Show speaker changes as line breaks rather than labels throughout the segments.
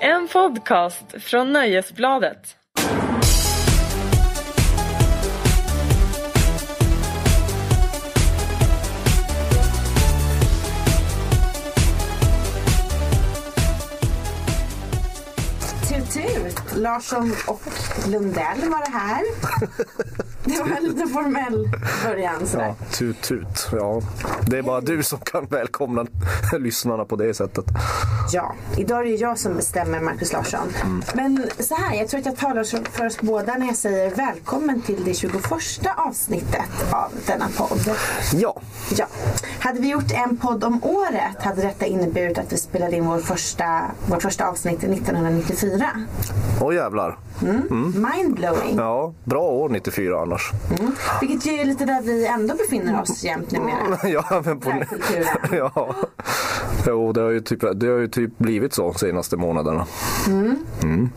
En podcast från Nöjesbladet.
Tut tut! Larsson och Lundell var det här. Det var en lite formell början sådär.
Ja, tut tut. Ja. Det är bara du som kan välkomna lyssnarna på det sättet.
Ja, idag är det ju jag som bestämmer Markus Larsson.
Mm.
Men så här, jag tror att jag talar så- för oss båda när jag säger välkommen till det 21 avsnittet av denna podd.
Ja,
Ja, hade vi gjort en podd om året hade detta inneburit att vi spelade in vår första, vårt första avsnitt 1994.
och jävlar.
Mindblowing.
Mm. Ja, bra år 94 annars.
Vilket ju är lite där vi ändå befinner oss jämt numera.
Ja, men på...
Populärkulturen.
ja. Jo, det har, ju typ, det har ju typ blivit så de senaste månaderna.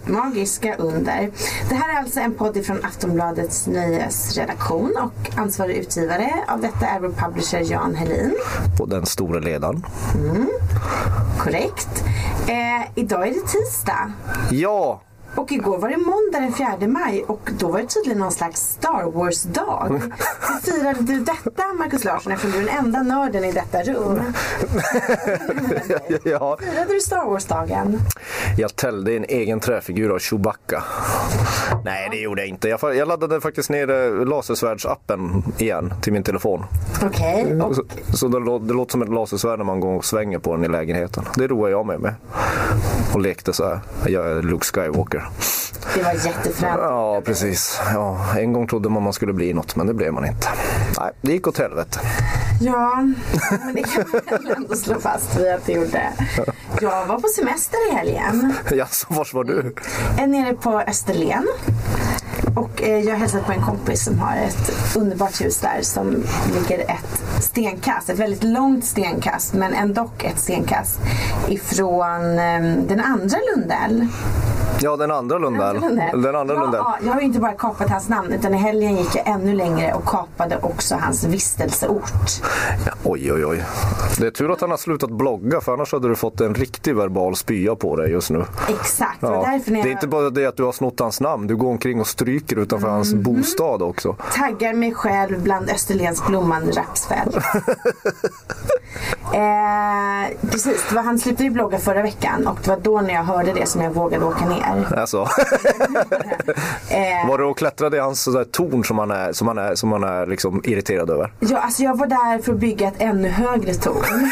Magiska under. Det här är alltså en podd från Aftonbladets nyhetsredaktion och ansvarig utgivare av detta är vår publisher Jan Helin.
Och den store ledaren.
Korrekt. Eh, idag är det tisdag
Ja,
och igår var det måndag den 4 maj och då var det tydligen någon slags Star Wars-dag. Hur firade du detta Markus Larsson eftersom du är den enda nörden i detta rum?
ja.
Firade du Star Wars-dagen?
jag tällde en egen träfigur av Chewbacca. Nej, det gjorde jag inte. Jag, fa- jag laddade faktiskt ner eh, lasersvärdsappen igen till min telefon.
Okej, och
Mm, Så, så det, lå- det låter som ett lasersvärd när man går och svänger på den i lägenheten. Det roar jag mig med. Och lekte så här. Jag är Luke Skywalker.
det var jättefränt.
Ja, precis. Ja, en gång trodde man man skulle bli något, men det blev man inte. Nej, det gick åt helvete.
Ja, men det kan man väl ändå slå fast vid att det gjorde. Jag var på semester i helgen.
Jaså, vars var du?
Jag är nere på Österlen. Och eh, jag hälsade på en kompis som har ett underbart hus där som ligger ett stenkast, ett väldigt långt stenkast men ändå ett stenkast ifrån eh, den andra Lundell.
Ja, den andra Lundell. Den andra
ja,
Lundell.
Ja, jag har ju inte bara kapat hans namn utan i helgen gick jag ännu längre och kapade också hans vistelseort.
Oj, oj, oj. Det är tur att han har slutat blogga, för annars hade du fått en riktig verbal spya på dig just nu.
Exakt, och
Ja.
därför när
Det är
jag... Mm.
inte bara det att du har snott hans namn, du går omkring och stryker utanför hans bostad också.
taggar mig själv bland Österlens blommande rapsfält. eh, precis, det var, han slutade ju blogga förra veckan och det var då när jag hörde det som jag vågade åka ner.
Alltså.
Eh,
Var du och klättrade i hans sådär torn som han är, som han är, som han är liksom irriterad över?
ja, alltså jag var där för att bygga ett ännu högre torn.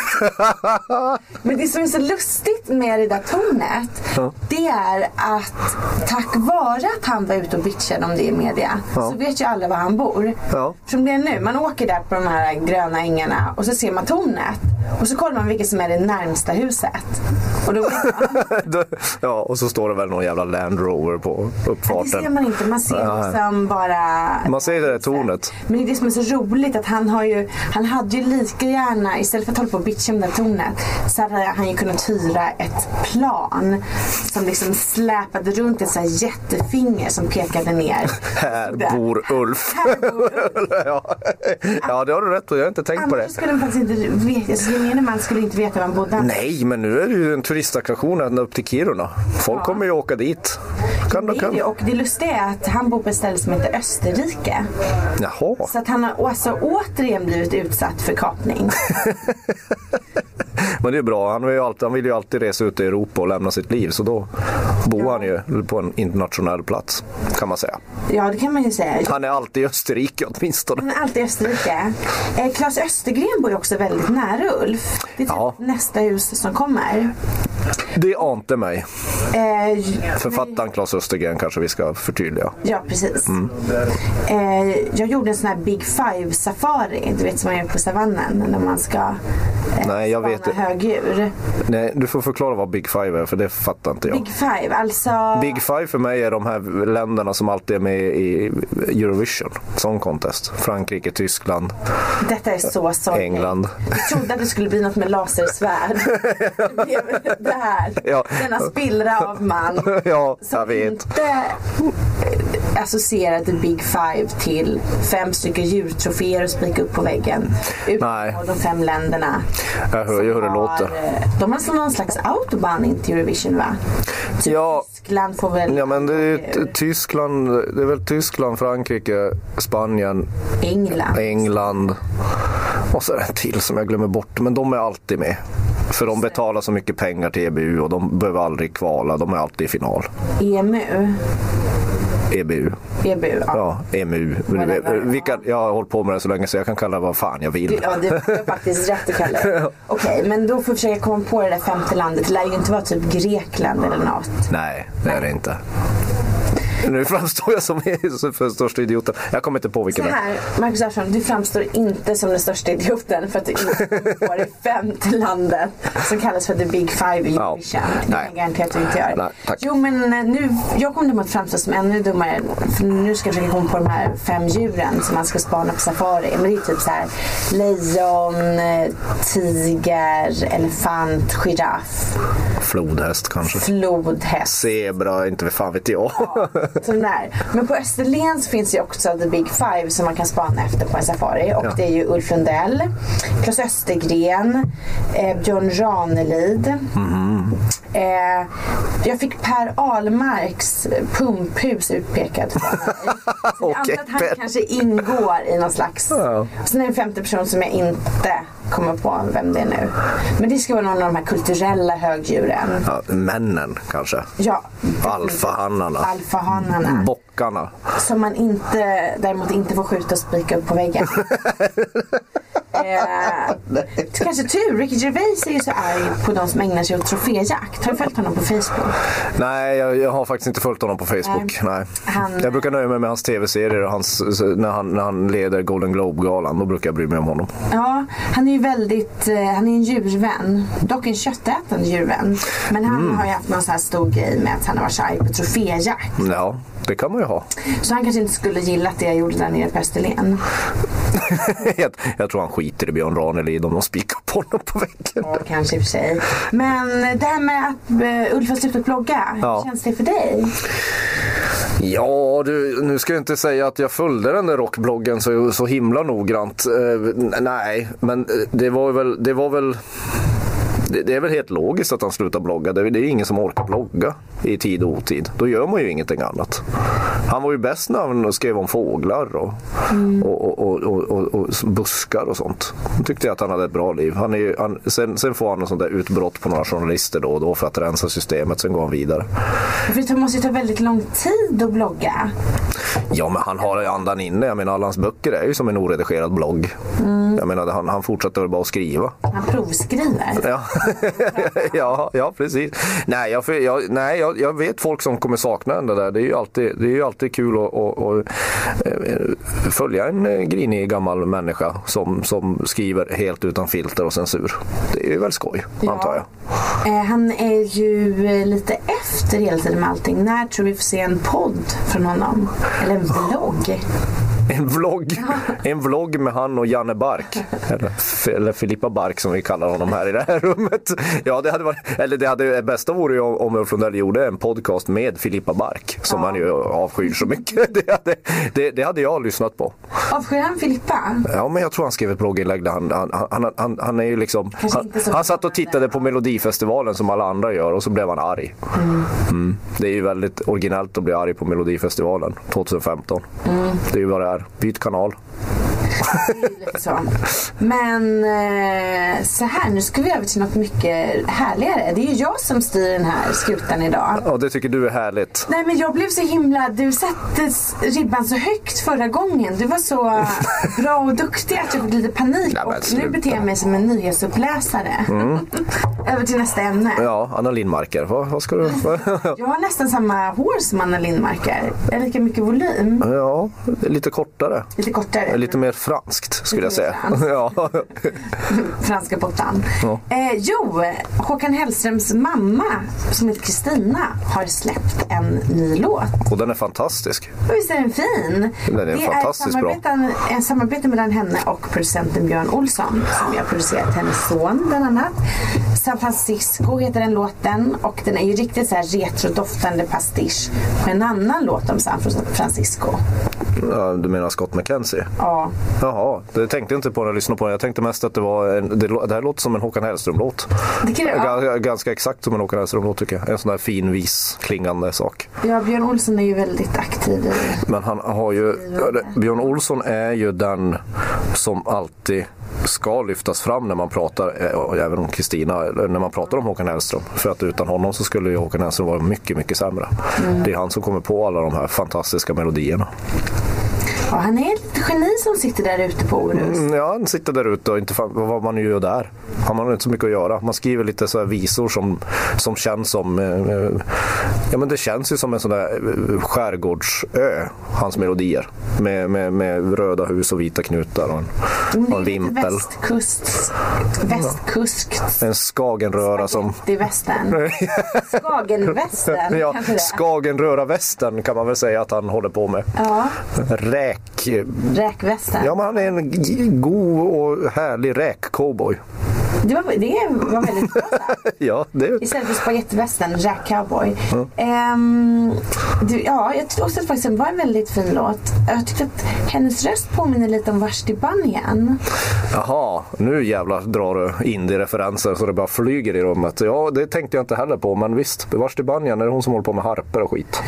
Men det som är så lustigt med det där tornet
Ja.
det är att tack vare att han var ute och bitchade om det i media
Ja.
så vet ju alla var han bor.
Ja.
Som det är nu, man åker där på de här gröna ängarna och så ser man tornet. Och så kollar man vilket som är det närmsta huset. Och då vet man,
ja, och så står det väl någon jävla Land Rover på
det ser
uppfarten.
man inte, man ser
Nej.
liksom bara
Man ser det där tornet.
Men det är det som är så roligt att han har ju, han hade ju lika gärna, istället för att hålla på och bitcha om det här tornet, så hade han ju kunnat hyra ett plan som liksom släpade runt ett så här jättefinger som pekade ner.
Här
Där.
bor Ulf.
Här bor
ja. ja, det har du rätt på. Jag har inte tänkt på det.
Annars skulle de faktiskt inte veta, alltså, gemene man skulle inte veta var han bodde.
Nej, men nu är det ju en turistattraktion ända upp till Kiruna. Folk kommer ju åka dit. Kan du,
Det är
kan.
det. Och det lustiga är att han bor på ett ställe som heter Österrike.
Jaha.
Så att han har alltså återigen blivit utsatt för kapning.
Men det är bra. Han vill ju alltid, han vill ju alltid resa ut i Europa och lämna sitt liv. Så då bor han ju på en internationell plats, kan man säga.
Ja, det kan man ju säga.
Han är alltid i Österrike åtminstone.
Han är alltid i Österrike. Eh, Claes Östergren bor ju också väldigt nära Ulf. Det är typ
Ja.
nästa hus som kommer.
Det ante mig.
Eh,
Författaren Claes Östergren kanske vi ska förtydliga.
ja, precis.
Mm.
Eh, jag gjorde en sån här Big Five-safari. Du vet som man gör på savannen när man ska eh,
Nej, jag vet
spana
det.
högdjur.
Nej, du får förklara vad Big Five är för det fattar inte jag.
Big
Big,
Five, alltså...
Five för mig är de här länderna som alltid är med i Eurovision Song Contest. Frankrike, Tyskland,
Detta är så sorgligt.
England.
Jag trodde att det skulle bli något med lasersvärd. Det blev det här.
Ja.
Denna spillra av man.
ja,
Som
jag vet.
inte associerade Big Five till fem stycken djurtroféer och spika upp på väggen.
Nej.
Utan de fem länderna.
Jag hör ju hur det
har,
låter.
eh, De har som någon slags autobahn in till Eurovision va?
Ja,
Tyskland får väl
ja, men det är ju t- Tyskland, det är väl Tyskland, Frankrike, Spanien,
England.
England och så är det en till som jag glömmer bort. Men de är alltid med. För de betalar så mycket pengar till EBU och de behöver aldrig kvala. De är alltid i final.
EMU.
EBU.
EBU. Ja.
Ja, EMU.
Whatever.
Vilka, jag har hållit på med det så länge så jag kan kalla det vad fan jag
Du,
vill.
ja, du har faktiskt rätt Kalle. Okej, men då får vi försöka komma på det där femte landet. Det lär ju inte vara typ Grekland eller något.
Nej, det är det inte. Nu framstår jag som för största idioten. Jag kommer inte på
Så
vilken det är.
här, Marcus Larsson, du framstår inte som den största idioten för att du inte var det femte landet som kallas för the big five i
Ja.
Eurovision. Det kan
Nej.
jag garantera att du inte gör.
Nej, tack.
Jo, men eh, nu, jag kommer nog att framstå som ännu dummare för nu ska jag försöka komma på de här fem djuren som man ska spana på safari. Men det är typ så här lejon, eh, tiger, elefant, giraff,
Flodhäst kanske.
flodhäst.
Zebra, inte fan vet jag.
Sån där. Men på Österlen så finns ju också The Big Five som man kan spana efter på en safari. Och
Ja.
det är ju Ulf Lundell, Claes Östergren, eh, Björn Ranelid.
Mm-hmm.
Eh, jag fick Per Ahlmarks pumphus utpekat för mig. Så jag antar
Okej,
att han
Per.
kanske ingår i någon slags...
Ja.
Och sen är det en femte person som jag inte kommer på vem det är nu. Men det ska vara någon av de här kulturella högdjuren.
Ja, männen kanske.
Ja,
Alfahannarna.
alfahanarna.
Bockarna.
Som man inte, däremot inte får skjuta och spika upp på väggen. eh, det kanske är tur. Ricky Gervais är ju så arg på de som ägnar sig åt troféjakt. Har du följt honom på Facebook?
Nej, jag, jag har faktiskt inte följt honom på Facebook. Nej.
Han-
Jag brukar nöja mig med hans tv-serier och hans, när, han, när han leder Golden Globe-galan. Då brukar jag bry mig om honom.
Ja, han är ju väldigt, eh, han är en djurvän. Dock en köttätande djurvän. Men han har ju haft någon sån här stor grej med att han har varit så arg på troféjakt.
Ja, det kan man ju ha.
Så han kanske inte skulle gilla att det jag gjorde där nere på Österlen.
jag, jag tror han skiter i Björn Ranelid om de spikar på honom på väggen.
Ja, kanske i och för sig. Men det här med att eh, Ulf har slutat blogga.
Ja.
Hur känns det för dig?
Ja, du, nu ska jag inte säga att jag följde den där rockbloggen så, så himla noggrant. Eh, n- nej, men eh, det var väl... Det, var väl det, det är väl helt logiskt att han slutar blogga. Det, är- det är ingen som orkar blogga i tid och otid. Då gör man ju ingenting annat. Han var ju bäst när han skrev om fåglar och, och, och, och, och, och buskar och sånt. Då tyckte jag att han hade ett bra liv. Han är ju, han, sen, sen får han en sån där utbrott på några journalister då och då för att rensa systemet. Sen går han vidare.
För det måste ju ta väldigt lång tid att blogga.
Ja, men han har ju andan inne. Jag menar, alla hans böcker är ju som en oredigerad blogg. Jag menar, han, han fortsätter väl bara att skriva.
Han provskriver.
Ja, ja, ja precis. Nej, jag, jag, nej jag, jag vet folk som kommer sakna den där. Det är ju alltid, det är ju alltid kul att, att, att eh, följa en eh, grinig gammal människa som, som skriver helt utan filter och censur. Det är ju väl skoj, antar jag.
Eh, han är ju eh, lite efter hela tiden med allting. När tror vi får se en podd från honom? Eller en vlogg?
En vlogg, en vlogg med han och Janne Bark. Eller, F- eller Filippa Bark som vi kallar honom här i det här rummet. Ja, det hade varit, eller det, hade, det bästa vore ju om om Ulf Lundell gjorde en podcast med Filippa Bark. Som han ju avskyr så mycket. Det hade, det, det hade jag lyssnat på.
Avskyr han Filippa?
Ja, men jag tror han skrev ett blogginlägg där han, han, han, han, han är ju liksom.
Kanske
Han,
inte så
han satt och tittade på Melodifestivalen som alla andra gör och så blev han arg. Mm. Det är ju väldigt originellt att bli arg på Melodifestivalen 2015.
Mm.
Det är ju vad det är. Byt kanal.
Lite så. Men eh, så här, nu ska vi över till något mycket härligare. Det är ju jag som styr den här skutan idag.
Ja, det tycker du är härligt.
Nej men jag blev så himla, du satte s- ribban så högt förra gången. Du var så bra och duktig att jag fick lite panik.
Nej, men
och nu
sluta. Mm.
beter jag mig som en nyhetsuppläsare. Över till nästa ämne.
Ja, Anna Lindmarker. Vad, vad ska du...
Jag har nästan samma hår som Anna Lindmarker. Jag har lika mycket volym.
ja, lite kortare.
Lite kortare.
Lite mer franskt skulle jag säga.
Det
Ja.
franska pottan.
Ja.
Eh, jo, Håkan Hellströms mamma som heter Kristina har släppt en ny låt.
Och den är fantastisk.
Och visst är den fin?
Den är
det
fantastiskt
är ett samarbete, ett samarbete mellan henne och producenten Björn Olsson som jag producerat hennes son bland annat. San Francisco heter den låten och den är ju riktigt så här retrodoftande pastisch på en annan låt om San Francisco.
Ja, Du menar Scott McKenzie?
Ja,
Jaha, det tänkte jag inte på när jag lyssnade på den. Jag tänkte mest att det var en, det, lå- det här låter som en Håkan Hellström-låt.
det kan
Oh
jag, ja.
Ga- Ganska exakt som en Håkan Hellström-låt tycker jag. En sån där fin vis klingande sak.
ja, Björn Olsson är ju väldigt aktiv i
Men han har ju, Björn Olsson är ju den som alltid ska lyftas fram när man pratar, eh, och även om Kristina, eller när man pratar om Håkan Hellström. För att utan honom så skulle ju Håkan Hellström vara mycket, mycket sämre. Det är han som kommer på alla de här fantastiska melodierna.
Ja, han är ett litet geni som sitter där ute på Orust.
Mm, Ja, han sitter där ute och inte fan, vad vad man gör där. Han har inte så mycket att göra. Man skriver lite så här visor som, som känns som... eh, Eh, ja, men det känns ju som en sån där eh, skärgårdsö, hans melodier. Med, med, med röda hus och vita knutar och en,
Men det
och
är
en
lite
vimpel.
Västkust, västkuskt.
En skagenröra som...
Det är västern. Skagenvästern
Ja,
kanske det är.
skagenröra-västern kan man väl säga att han håller på med.
Ja,
Räk...
räkvästern.
Ja, men han är en g- god och härlig räk-cowboy.
Det, var, det var väldigt bra sagt.
Ja, det...
Istället för spagettivästern, Jack Cowboy. Ehm, du, ja, jag tyckte också att faktiskt det var en väldigt fin låt. Jag tyckte att hennes röst påminner lite om Vashti Bunyan.
Jaha, nu jävlar drar du indie-referenser så det bara flyger i rummet. Ja, det tänkte jag inte heller på, men visst. Värst i banjan är det hon som håller på med harper och skit.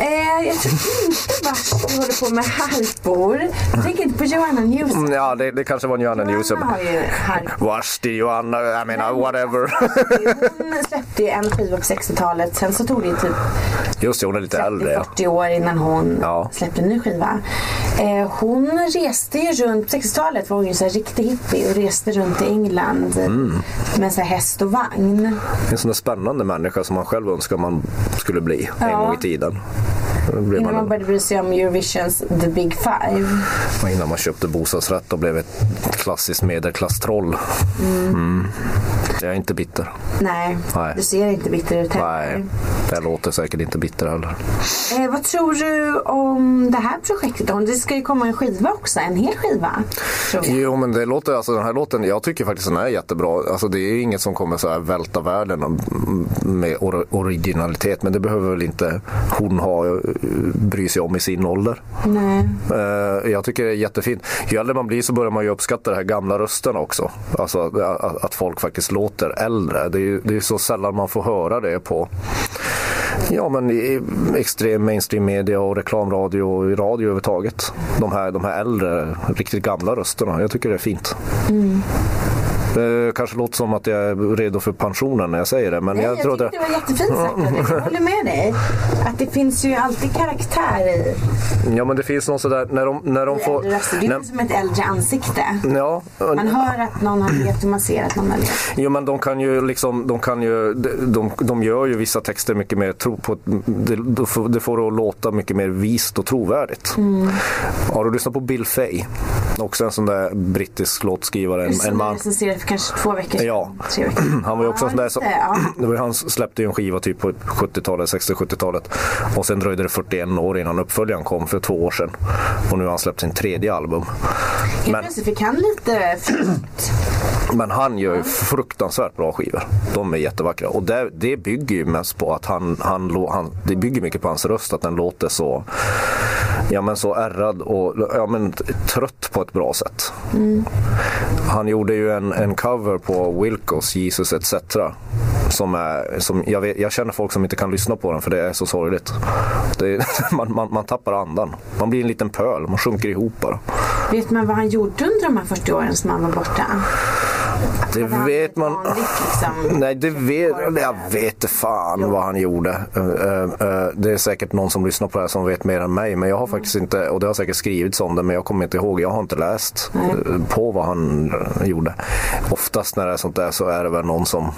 Eh, jag tror inte Vashti håller på med harpor. Tänk inte på Joanna Newsom.
Mm, Ja, det, det kanske var Johanna Newsom.
Joanna har ju harpor.
Värst i Johanna, jag menar whatever.
Hon släppte ju en skiva på 60-talet. Sen så tog det ju typ
Just det, hon är lite äldre. Ja.
30-40 år innan hon
Ja.
släppte en ny skiva. Eh, hon reste ju runt, på 60-talet var hon ju så här riktig hippie och reste runt i England
Mm.
med så här häst och vagn.
En sån där spännande människa som man själv önskar man skulle bli en
Ja.
gång i tiden. Då blir
Innan
man
man
en,
började bry sig om Eurovisions The Big Five.
innan man köpte bostadsrätt och blev ett klassiskt medelklasstroll. Mm. Jag är inte bitter.
Nej,
Nej.
du ser inte bitter ut heller.
Nej, jag låter säkert inte bitter heller.
Eh, vad tror du om det här projektet? Om Det ska ju komma en skiva också, en hel skiva. Tror jag.
Jo men det låter, alltså den här låten, jag tycker faktiskt den är jättebra. Alltså det är inget som kommer så här välta världen om- med or- originalitet. Men det behöver väl inte hon ha, eh, bry sig om i sin ålder.
Nej.
Eh, jag tycker det är jättefint. Ju äldre man blir så börjar man ju uppskatta de här gamla rösterna också. Alltså att, att, att folk faktiskt låter äldre. Det är ju det är så sällan man får höra det på Ja men i- i extrem mainstream media och reklamradio och i radio överhuvudtaget. De här, de här äldre, riktigt gamla rösterna. Jag tycker det är fint.
Mm.
Det kanske låter som att jag är redo för pensionen när jag säger det. Men
Nej,
jag,
jag,
tror
tyckte
det...
det var jättefint sagt. Henrik. Jag håller med dig. Att det finns ju alltid karaktär i
Ja men det finns någon sådär när de, när de får...
äldre röster. alltså, Det är
när,
inte som ett äldre ansikte.
ja,
Man hör att någon har levt och man ser att någon har levt.
Jo men de kan ju liksom, de kan ju, de, de, de gör ju vissa texter mycket mer, tro på, det, då får- det får det att låta mycket mer vist och trovärdigt.
Mm.
Har du lyssnat på Bill Fay? Också en sån där brittisk låtskrivare, en, en
Som jag
man.
recenserade för kanske två veckor sedan.
Ja.
Tre veckor.
Han var ju också
Ja,
en sån där
just
som,
det, ja.
det var, ju han släppte ju en skiva typ på 70-talet, 60-70-talet. Och sen dröjde det 41 år innan uppföljaren kom för två år sedan. Och nu har han släppt sin tredje album.
Helt plötsligt fick han lite frukt.
Men han gör ju fruktansvärt bra skivor. De är jättevackra. Och det, det bygger ju mest på att han, han, lå- han, det bygger mycket på hans röst, att den låter så, ja, men så ärrad och ja, men, t- trött på ett bra sätt. Han gjorde ju en, en cover på Wilcos Jesus etc. Som är, som jag, vet, jag känner folk som inte kan lyssna på den för det är så sorgligt. Det är, man, man, man tappar andan. Man blir en liten pöl, man sjunker ihop bara.
Vet man vad han gjorde under de här 40 åren som han var borta?
Det
Han hade
vet
ett
man.
vanligt, Liksom.
Nej, det vet, jag vet inte fan vad han gjorde. Eh, eh, eh, Det är säkert någon som lyssnar på det här som vet mer än mig. Men jag har faktiskt inte, och det har säkert skrivits om det, men jag kommer inte ihåg. Jag har inte läst eh, på vad han eh, gjorde. Oftast när det är sånt där så är det väl någon som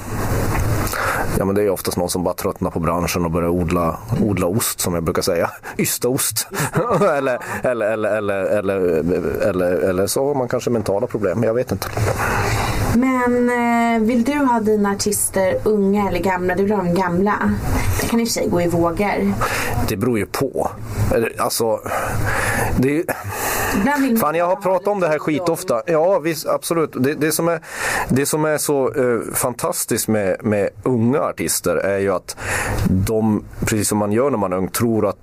Ja, men det är oftast någon som bara tröttnar på branschen och börjar odla, odla ost som jag brukar säga. Ystaost. eller, eller, eller, eller, eller, eller, eller så har man kanske mentala problem. Jag vet inte.
Men eh, vill du ha dina artister unga eller gamla? Du vill ha dem gamla. Det kan i och för sig gå i vågor.
Det beror ju på. Eller, Alltså, det är ju...
Ibland vill man
Fan, jag har
ha
pratat om det här
lite
skitofta. Ja, visst, absolut. Det, det, som är, det som är så eh, fantastiskt med, med unga artister är ju att de, precis som man gör när man är ung, tror att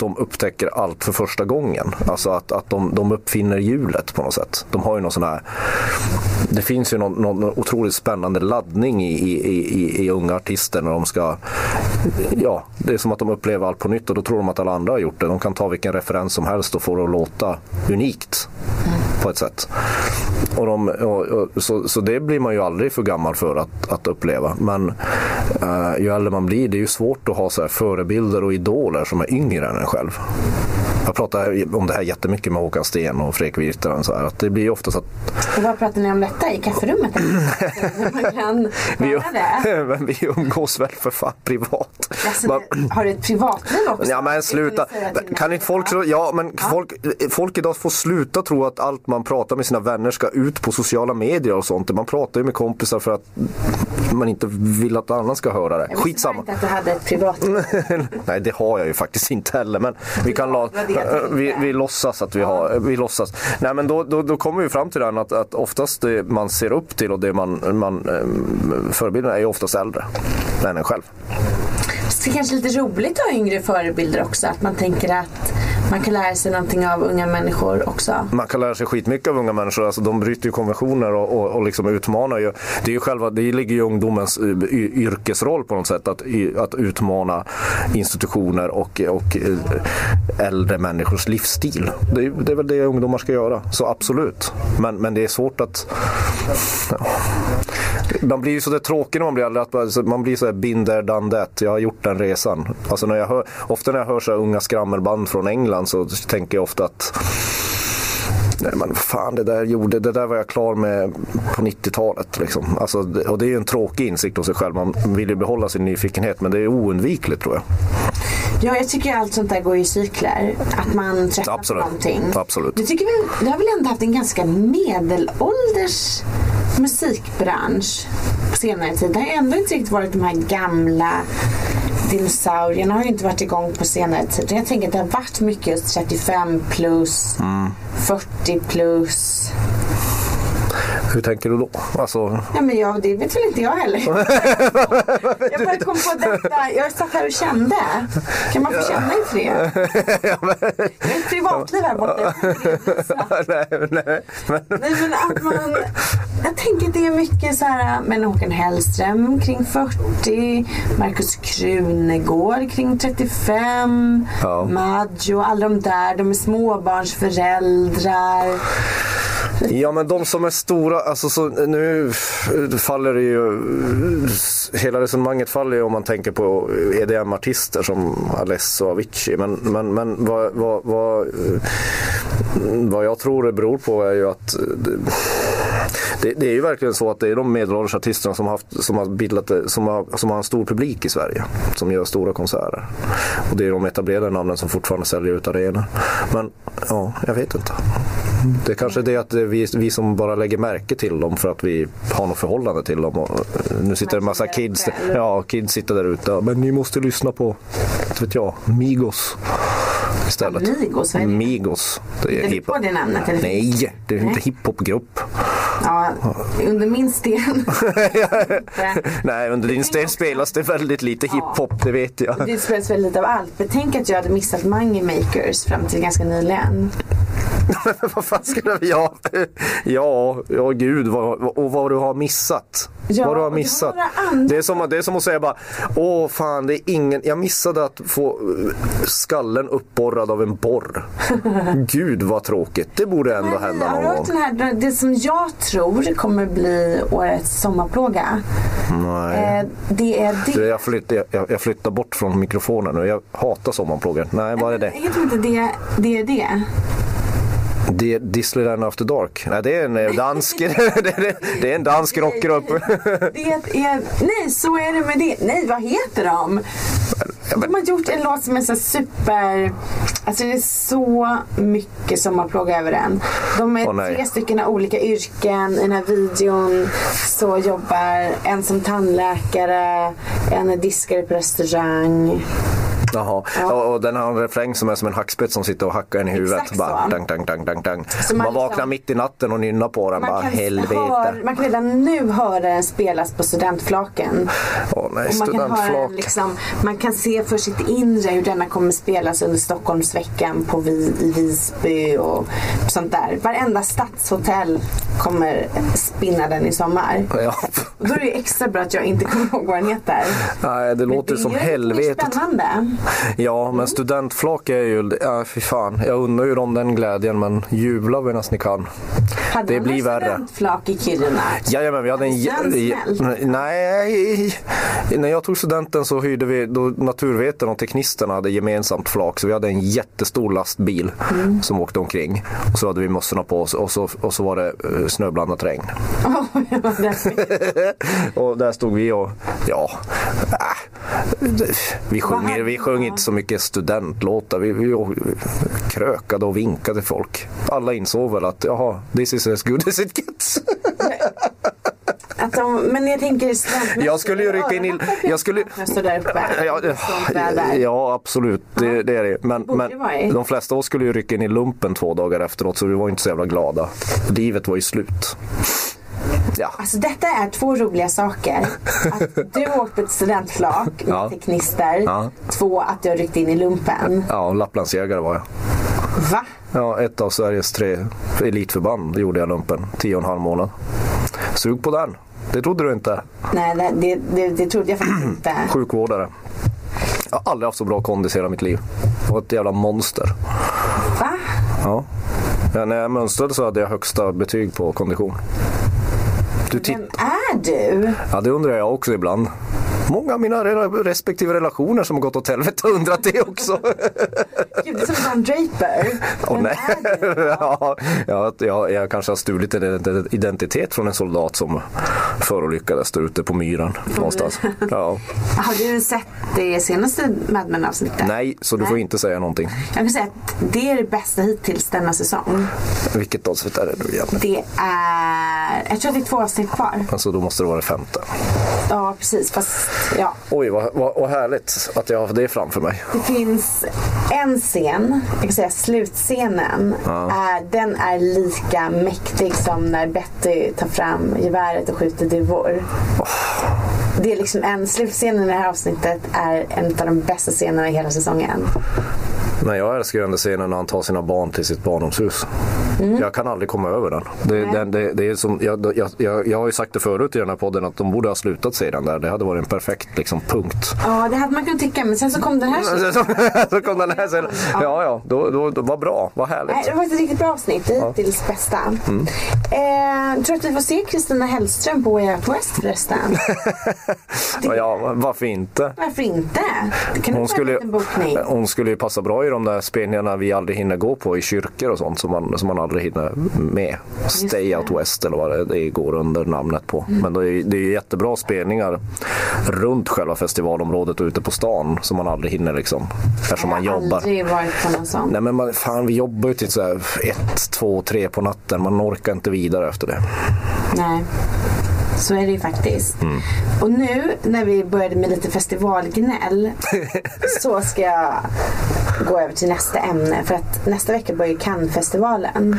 de upptäcker allt för första gången. Alltså att, att de, de uppfinner hjulet på något sätt. De har ju någon sån här... Det finns ju någon, någon otroligt spännande laddning i, i, i, i unga artister när de ska... Ja, det är som att de upplever allt på nytt och då tror de att alla andra har gjort det. De kan ta vilken referens som helst och få det att låta unikt på ett sätt. Och de, och, och, så, så det blir man ju aldrig för gammal för att, att uppleva. Men eh, ju äldre man blir, det är ju svårt att ha så här förebilder och idoler som är yngre än en själv. Jag pratar om det här jättemycket med Håkan Sten och Fredrik Virtanen. Så här, att det blir ju oftast att
Och vad pratar ni om detta? I kafferummet? man kan
vi,
göra det.
men vi umgås väl för fan privat.
Alltså,
Man-
Har du ett privatliv också?
Ja men
Det kan du
sluta.
säga till
Kan
mig.
inte folk, tro- ja, men folk, folk idag får sluta tro att allt man pratar med sina vänner ska ut på sociala medier och sånt. Man pratar ju med kompisar för att man inte vill att annan ska höra det.
Jag visste
Skitsamma.
inte att du hade ett privatliv.
Nej det har jag ju faktiskt inte heller men vi kan la, eh,
Det var det jag tänkte.
vi, vi låtsas att vi har, vi låtsas. Nej men då, då, då kommer vi fram till den att, att oftast det man ser upp till och det man, man eh, förebilderna är ju oftast äldre än en själv.
Så det är kanske lite roligt att ha yngre förebilder också. Att man tänker att man kan lära sig någonting av unga människor också.
man kan lära sig skitmycket av unga människor. Alltså, de bryter ju konventioner och, och, och liksom utmanar. Ju. Det, är ju själva, det ligger ju i ungdomens eh, y, yrkesroll på något sätt att, y, att utmana institutioner och, och eh, äldre människors livsstil. Det, är- det är väl det ungdomar ska göra, så absolut. Men, men det är svårt att... Man blir ju så där tråkig när man blir äldre. Att man- så- man blir så här been there, done that. Jag har gjort den resan. Alltså när jag hör, ofta när jag hör så här unga skrammelband från England så tänker jag ofta att Nej men fan det där gjorde, det där var jag klar med på 90-talet. Liksom. Alltså, det- och det är ju en tråkig insikt hos sig själv. Man vill ju behålla sin nyfikenhet men det är oundvikligt tror jag.
Ja, jag tycker allt sånt där går i cykler. Att man tröttnar
Absolut.
på Alltså någonting.
Absolut.
Du, tycker väl, du har väl ändå haft en ganska medelålders musikbransch på senare tid? Det har ju ändå inte riktigt varit de här gamla dinosaurierna har ju inte varit igång på senare tid. Jag tänker att det har varit mycket just 35 plus,
Mm.
40 plus.
Hur tänker du då? Alltså,
Ja, men jag, det vet väl inte jag heller. jag bara kom på detta. Jag satt här och kände. Kan man få känna i fred? Jag har ett privatliv här borta. Jag får inte redovisa.
nej, nej. Men,
Nej, men att man... Jag tänker att det är mycket så här, men Håkan Hellström kring 40, Markus Krunegård kring 35,
Ja.
Maggio, alla de där, de är småbarnsföräldrar.
ja men de som är stora, alltså, så, nu faller det ju, hela resonemanget faller ju om man tänker på EDM-artister som Alesso och Avicii. Men, men, men vad, vad, vad, vad jag tror det beror på är ju att eh, Det, det är ju verkligen så att det är de medelålders artisterna som har, haft, som har bildat det- som har, som har en stor publik i Sverige. Som gör stora konserter. Och det är de etablerade namnen som fortfarande säljer ut arenor. Men ja, jag vet inte. Det kanske är det att det är vi, vi som bara lägger märke till dem för att vi har något förhållande till dem. Och, eh, nu sitter det en massa kids, ja, kids sitter där ute. Ja, Men ni måste lyssna på, inte vet jag, Migos istället.
Amigos, vad är det?
Migos. Det
Är
är
det
Mm, hiphop.
på det namnet, eller?
Nej, det är
Nej.
inte hiphopgrupp.
Ja, under min sten.
Nej, under din sten spelas det väldigt lite hiphop, det vet jag.
Det spelas väl lite av allt. Men tänk att jag hade missat Mange Makers fram till ganska nyligen.
vad fan skulle vi ha? Ja, ja gud, vad, och vad du har missat.
Ja,
vad du har
och det
missat.
har några andra-
Det är, som, det är som att säga bara, åh fan, det är ingen, jag missade att få eh, skallen uppborrad av en borr. gud vad tråkigt, det borde ändå hända
har
någon
du
gång.
hört den här, det som jag tror kommer bli årets sommarplåga?
Nej.
Eh, det är det.
Mm. Du, jag, flytt, jag, jag flyttar bort från mikrofonen nu, jag hatar sommarplågor. Nej, vad är det?
Heter inte det, det är det?
Di- Disneyland After Dark. Nej, det är en eh, dansk, det är- det är en dansk rockgrupp.
Det är, nej, så är det med det. Nej, vad heter de? De har gjort en låt som är så super... Alltså det är så mycket som har plågat över en. De är
Åh, nej.
tre stycken av olika yrken. I den här videon så jobbar en som tandläkare, en är diskare på restaurang.
Jaha. Och, och den har en refräng som är som en hackspett som sitter och hackar en i huvudet.
Exakt
bara,
så.
dang, dang, dang, dang, dang.
man
Man,
liksom-
vaknar mitt i natten och nynnar på den. Bara, helvete.
hör, man kan redan nu höra den spelas på studentflaken.
Åh, nej,
Och man kan, höra
studentflak.
den liksom, man kan se för sitt inre hur denna kommer spelas under Stockholmsveckan på vi, i Visby och sånt där. Varenda stadshotell kommer spinna den i sommar.
Ja.
Och då är det ju extra bra att jag inte kommer ihåg vad den heter.
Nej, det låter som
är- Det är
helvetet.
spännande.
Ja, men studentflak är ju, ja fy fan. Jag undrar ju om den glädjen men jubla medan ni kan.
Hade
Det
man
blir
en
värre.
studentflak i Kiruna?
Jajamän, vi hade en...
Hade det känts snällt?
Nej, när jag tog studenten så hyrde vi, då naturvetarna och teknisterna hade gemensamt flak så vi hade en jättestor lastbil
Mm.
som åkte omkring. Och så hade vi mössorna på oss och så, och så var det eh, snöblandat regn. och där stod vi och, ja, äh, vi sjöng, vi sjöng inte så mycket studentlåtar. Vi, vi, vi krökade och vinkade till folk. Alla insåg väl att, jaha, this is as good as it gets.
Att de, men jag tänker studentmässigt.
Jag skulle ju rycka in i- jag skulle-
Så där uppe.
Ja,
Sånt
ja,
väder.
ja absolut, det, det är det. Men,
borde
men
det vara i.
de flesta av oss skulle ju rycka in i lumpen två dagar efteråt så vi var inte så jävla glada. Livet var ju slut. Ja,
Alltså detta är två roliga saker. Att du åkte på ett studentflak med
Ja.
teknister.
Ja.
Två, att du har ryckt in i lumpen.
ja Lapplandsjägare var jag.
Va?
Ja, ett av Sveriges tre elitförband gjorde jag lumpen. Tio och en halv månad. Sug på den. Det trodde du inte.
Nej, det, det, det, det trodde jag faktiskt inte.
Sjukvårdare. Jag har aldrig haft så bra kondis i hela mitt liv. Jag var ett jävla monster.
Va?
Ja. Ja, när jag mönstrade så hade jag högsta betyg på kondition. Du titt-
Vem är du?
Ja, det undrar jag också ibland. Många av mina rela- respektive relationer som har gått åt helvete har undrat det också.
Gud, det är som Don Draper.
Åh
Vem
nej.
är du?
ja, jag, jag, jag kanske har stulit en ident- identitet från en soldat som förolyckades där ute på myran någonstans. Ja.
Har du sett det senaste Mad Men avsnittet?
Nej, så du får inte säga någonting.
Jag kan säga att det är det bästa hittills denna säsong.
Vilket avsnitt är det nu igen?
Det är... Jag tror att det är två avsnitt kvar.
Alltså då måste det vara det femte.
Ja, precis. Fast ja.
Oj, vad, vad, vad härligt att jag har det framför mig.
Det finns en scen, jag kan säga slutscenen. Är, den är lika mäktig som när Betty tar fram geväret och skjuter duvor. Det är liksom en slutscen i det här avsnittet är en av de bästa scenerna i hela säsongen.
Men jag älskar ju den där scenen när han tar sina barn till sitt barndomshus.
Mm.
Jag kan aldrig komma över den. Det, den det, det är som, jag, jag, jag, jag har ju sagt det förut i den här podden att de borde ha slutat se den där. Det hade varit en perfekt liksom, punkt.
Ja, det hade man kunnat tycka, men sen så kom den här
alltså-
scenen.
Så kom den här scenen. Ja, ja, då, då, då, vad bra, vad
Nej,
härligt.
Det var ett riktigt bra avsnitt, hittills bästa.
Mm.
Eh, tror du att vi får se Kristina Hellström på Way Out West förresten?
Ja, Ja, varför inte?
Varför inte? Det kan nog
Hon
vara en
skulle,
liten bokning.
hon skulle ju passa bra i de där spelningarna vi aldrig hinner gå på i kyrkor och sånt som man, som man aldrig hinner med. Stay Out West eller vad det- det går under namnet på.
Mm.
Men det är, det är jättebra spelningar runt själva festivalområdet och ute på stan som man aldrig hinner liksom. Eftersom man
Jag har
jobbar.
aldrig varit på någon sån.
Nej men man, fan vi jobbar ju till så här ett, två, tre på natten. Man orkar inte vidare efter det.
Nej. Så är det ju faktiskt. Och nu när vi började med lite festivalgnäll så ska jag gå över till nästa ämne. För att nästa vecka börjar ju Cannes-festivalen.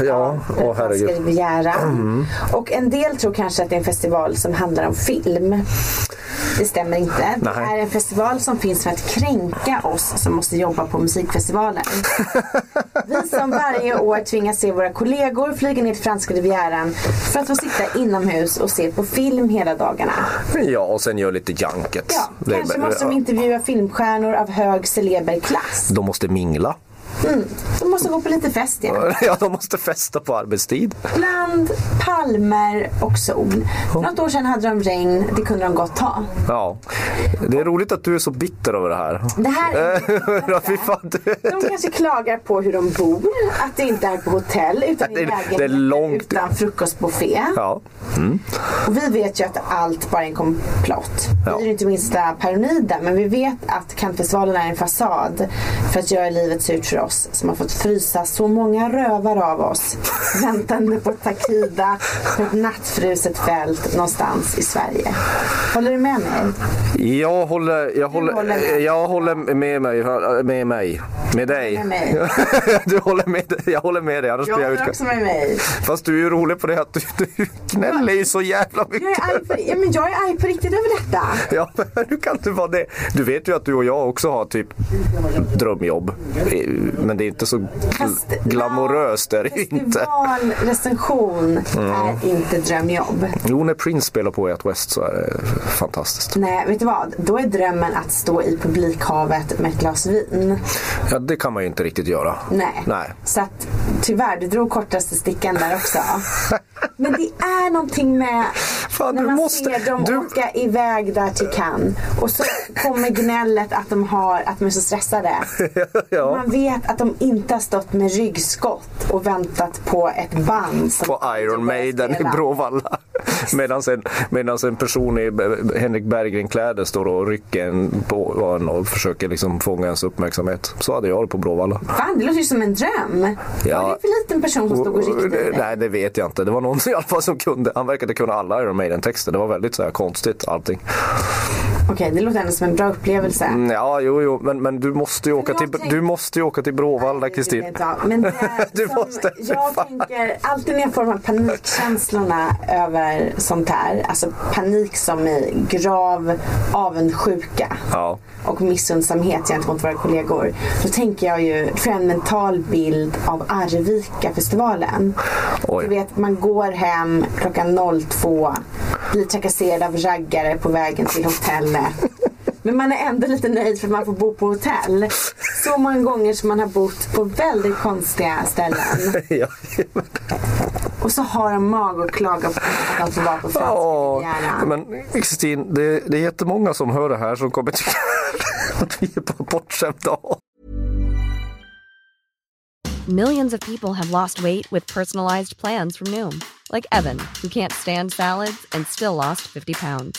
Ja, åh
Franska
herregud. Mm.
Rivieran. Och en del tror kanske att det är en festival som handlar om film. Det stämmer inte. Det är
Nej.
en festival som finns för att kränka oss som måste jobba på musikfestivaler. Vi som varje år tvingas se våra kollegor flyga ner till Franska Rivieran för att få sitta inomhus och se på film hela dagarna.
Ja, och sen gör lite junket.
Ja,
Det-
kanske måste de intervjua filmstjärnor av hög celeberklass.
de måste mingla.
De måste gå på lite fest igen.
Ja, de måste festa på arbetstid.
Bland palmer och sol. För något år sedan hade de regn, det kunde de gott ha.
Ja. Det är roligt att du är så bitter över det här.
Det här är
Ja, fy fan, det,
De kanske klagar på hur de bor, att det inte är på hotell utan
Det
i
är- det
lägenheter
är långt.
utan frukostbuffé.
ja.
Och vi vet ju att allt bara är en komplott.
Ja.
Vi är ju inte minsta paranoida men vi vet att Kantfestivalen är en fasad för att göra livet surt för oss som har fått frysa så många rövar av oss väntande på Takida på ett nattfruset fält någonstans i Sverige. Håller du med mig?
Jag håller, jag håller,
håller med.
jag håller med mig. Med mig. Med dig.
Med mig.
Du håller med, jag håller med dig, annars
Jag
blir jag
håller
utskälld.
också med mig.
Fast du är ju rolig på det att du, du gnäller ju så jävla mycket.
Jag är arg på, ja, men jag är arg på riktigt över detta.
Ja, men du kan inte vara det. Du vet ju att du och jag också har typ drömjobb. Eh, Men det är inte så
Mm. Fast-
gl- glamoröst. Är det ju inte. Mm.
Festivalrecension är inte drömjobb.
Jo, när Prince spelar på Way Out West så är det fantastiskt.
Nej, vet du vad? Då är drömmen att stå i publikhavet med ett glas vin.
Ja, det kan man ju inte riktigt göra.
Nej.
Nej.
Så att tyvärr, du drog kortaste stickan där också. Men det är någonting med
Fan,
när
du
man
måste-
ser dem
du-
åka iväg där till Cannes. Och så kommer gnället att de, har, att de är så stressade.
ja.
Man vet att de inte har stått med ryggskott och väntat på ett band. Som
På Iron Maiden i Bråvalla. Medan en, medans en person i B- Henrik Berggren-kläder står och rycker en på en och försöker liksom fånga ens uppmärksamhet. Så hade jag det på Bråvalla.
Fan, det låter ju som en dröm.
Ja.
Var det för liten person som stod och ryckte i dig?
Nej, det vet jag inte. Det var någon i alla fall som kunde. Han verkade kunna alla Iron Maiden-texter. Det var väldigt så här konstigt allting.
Okej, det låter ändå som en bra upplevelse.
Mm, Ja, jo, jo, men, men du måste ju åka
jag
till,
tänk-
du måste ju åka till Bråvalla,
Det vill jag
Kristin.
inte ha. Men det är
Du
som
måste,
jag
fan.
tänker alltid när jag får de här panikkänslorna över sånt här. Alltså panik som i grav avundsjuka
Ja.
och missundsamhet gentemot våra kollegor. Då tänker jag ju, då får jag en mental bild av Arvika-festivalen.
Oj.
Du vet, man går hem klockan 02, blir trakasserad av raggare på vägen till hotellet. Men man är ändå lite nöjd för att man får bo på hotell. Så många gånger som man har bott på väldigt konstiga ställen.
Ja.
Och så har de mag att klaga på att de får vara på franska
Ja,
rivieran.
men Kristin, det, det är jättemånga som hör det här som kommer tycka att vi är på bortskämda
Millions of people have lost weight with personalized plans from Noom, like Evan, who can't stand salads and still lost 50 pounds.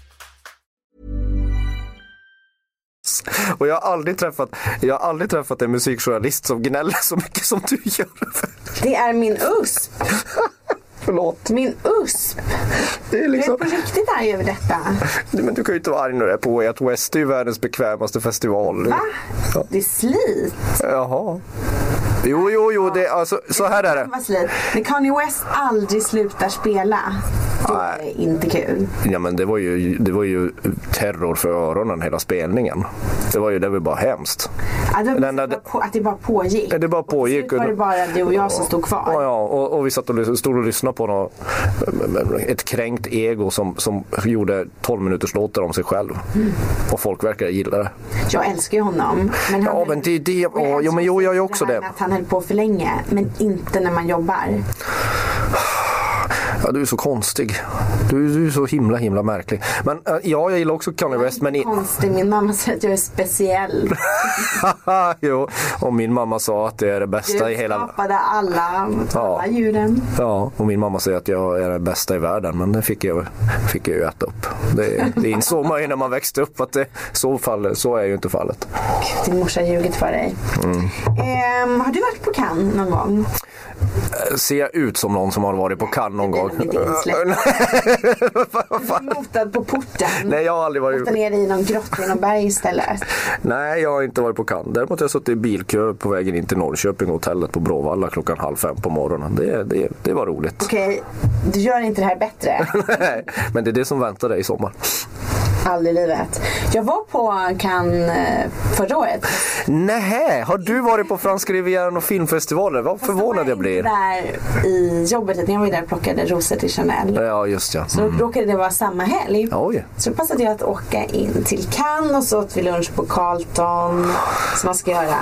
Och jag har aldrig träffat, jag har aldrig träffat en musikjournalist som gnäller så mycket som du gör.
Det är min USP.
Förlåt.
Min USP.
Det är
Jag är
liksom...
på riktigt arg över detta.
Nej, Men du kan ju inte vara arg när du är på Way Out West. Det är ju världens bekvämaste festival.
Va? Det är slit.
Jaha. Jo, jo, jo. Det, alltså, så här är det.
Vad slit. När Kanye West aldrig slutar spela, då är det inte kul.
Ja, men det var, ju, det var ju terror för öronen hela spelningen. Det var ju det var bara hemskt.
Ja, det var
Den där-
bara på, att det bara pågick.
Ja, det bara
Och till slut
pågick och-
var det bara du och jag som stod kvar.
Ja, ja, och, och vi satt och lys- stod och lyssnade på något, ett kränkt ego som, som gjorde 12 minuters låtar om sig själv. Och folk verkar gilla det.
Jag älskar ju honom. Men
Ja, men det är det. Ja, jo, men jo, jag gör också
det. här
det.
med Att han höll på för länge, men inte när man jobbar.
Ja, du är så konstig. Du, du är så himla, himla märklig. Men eh, ja, jag gillar också Kanye West. Men i,
Konstigt, min mamma säger att jag är speciell.
jo, och min mamma sa att det är det bästa i
Du
hela...
skapade alla,
Ja.
alla djuren.
Ja, och min mamma säger att jag är den bästa i världen, men det fick jag, fick jag ju äta upp. Det, det insåg man ju när man växte upp att det, så, fall, så är ju inte fallet. Mm.
Gud, din morsa har ljugit för dig. Ehm, har du varit på Cannes någon gång?
Ser jag ut som någon som har varit på Cannes någon gång?
Det blir nog inte Motad på porten.
Nej, jag har aldrig varit...
Ofta nere i någon grotta i någon berg istället.
Nej, jag har inte varit på Cannes. Däremot har jag suttit i bilkö på vägen in till Norrköping och hotellet på Bråvalla klockan halv fem på morgonen. Det, det, det var roligt.
Okej, du gör inte det här bättre.
Nej, Men det är det som väntar dig i sommar.
Aldrig i livet. Jag var på Cannes eh, förra året.
Nej, har du varit på Franska Rivieran och filmfestivaler? Vad förvånad jag blir.
Där i jobbet, utan jag var ju där och plockade rosor till Chanel.
Ja, just ja.
Så
Mm.
råkade det vara samma helg.
Oj.
Så då passade jag att åka in till Cannes och så åt vi lunch på Carlton. Som man ska göra.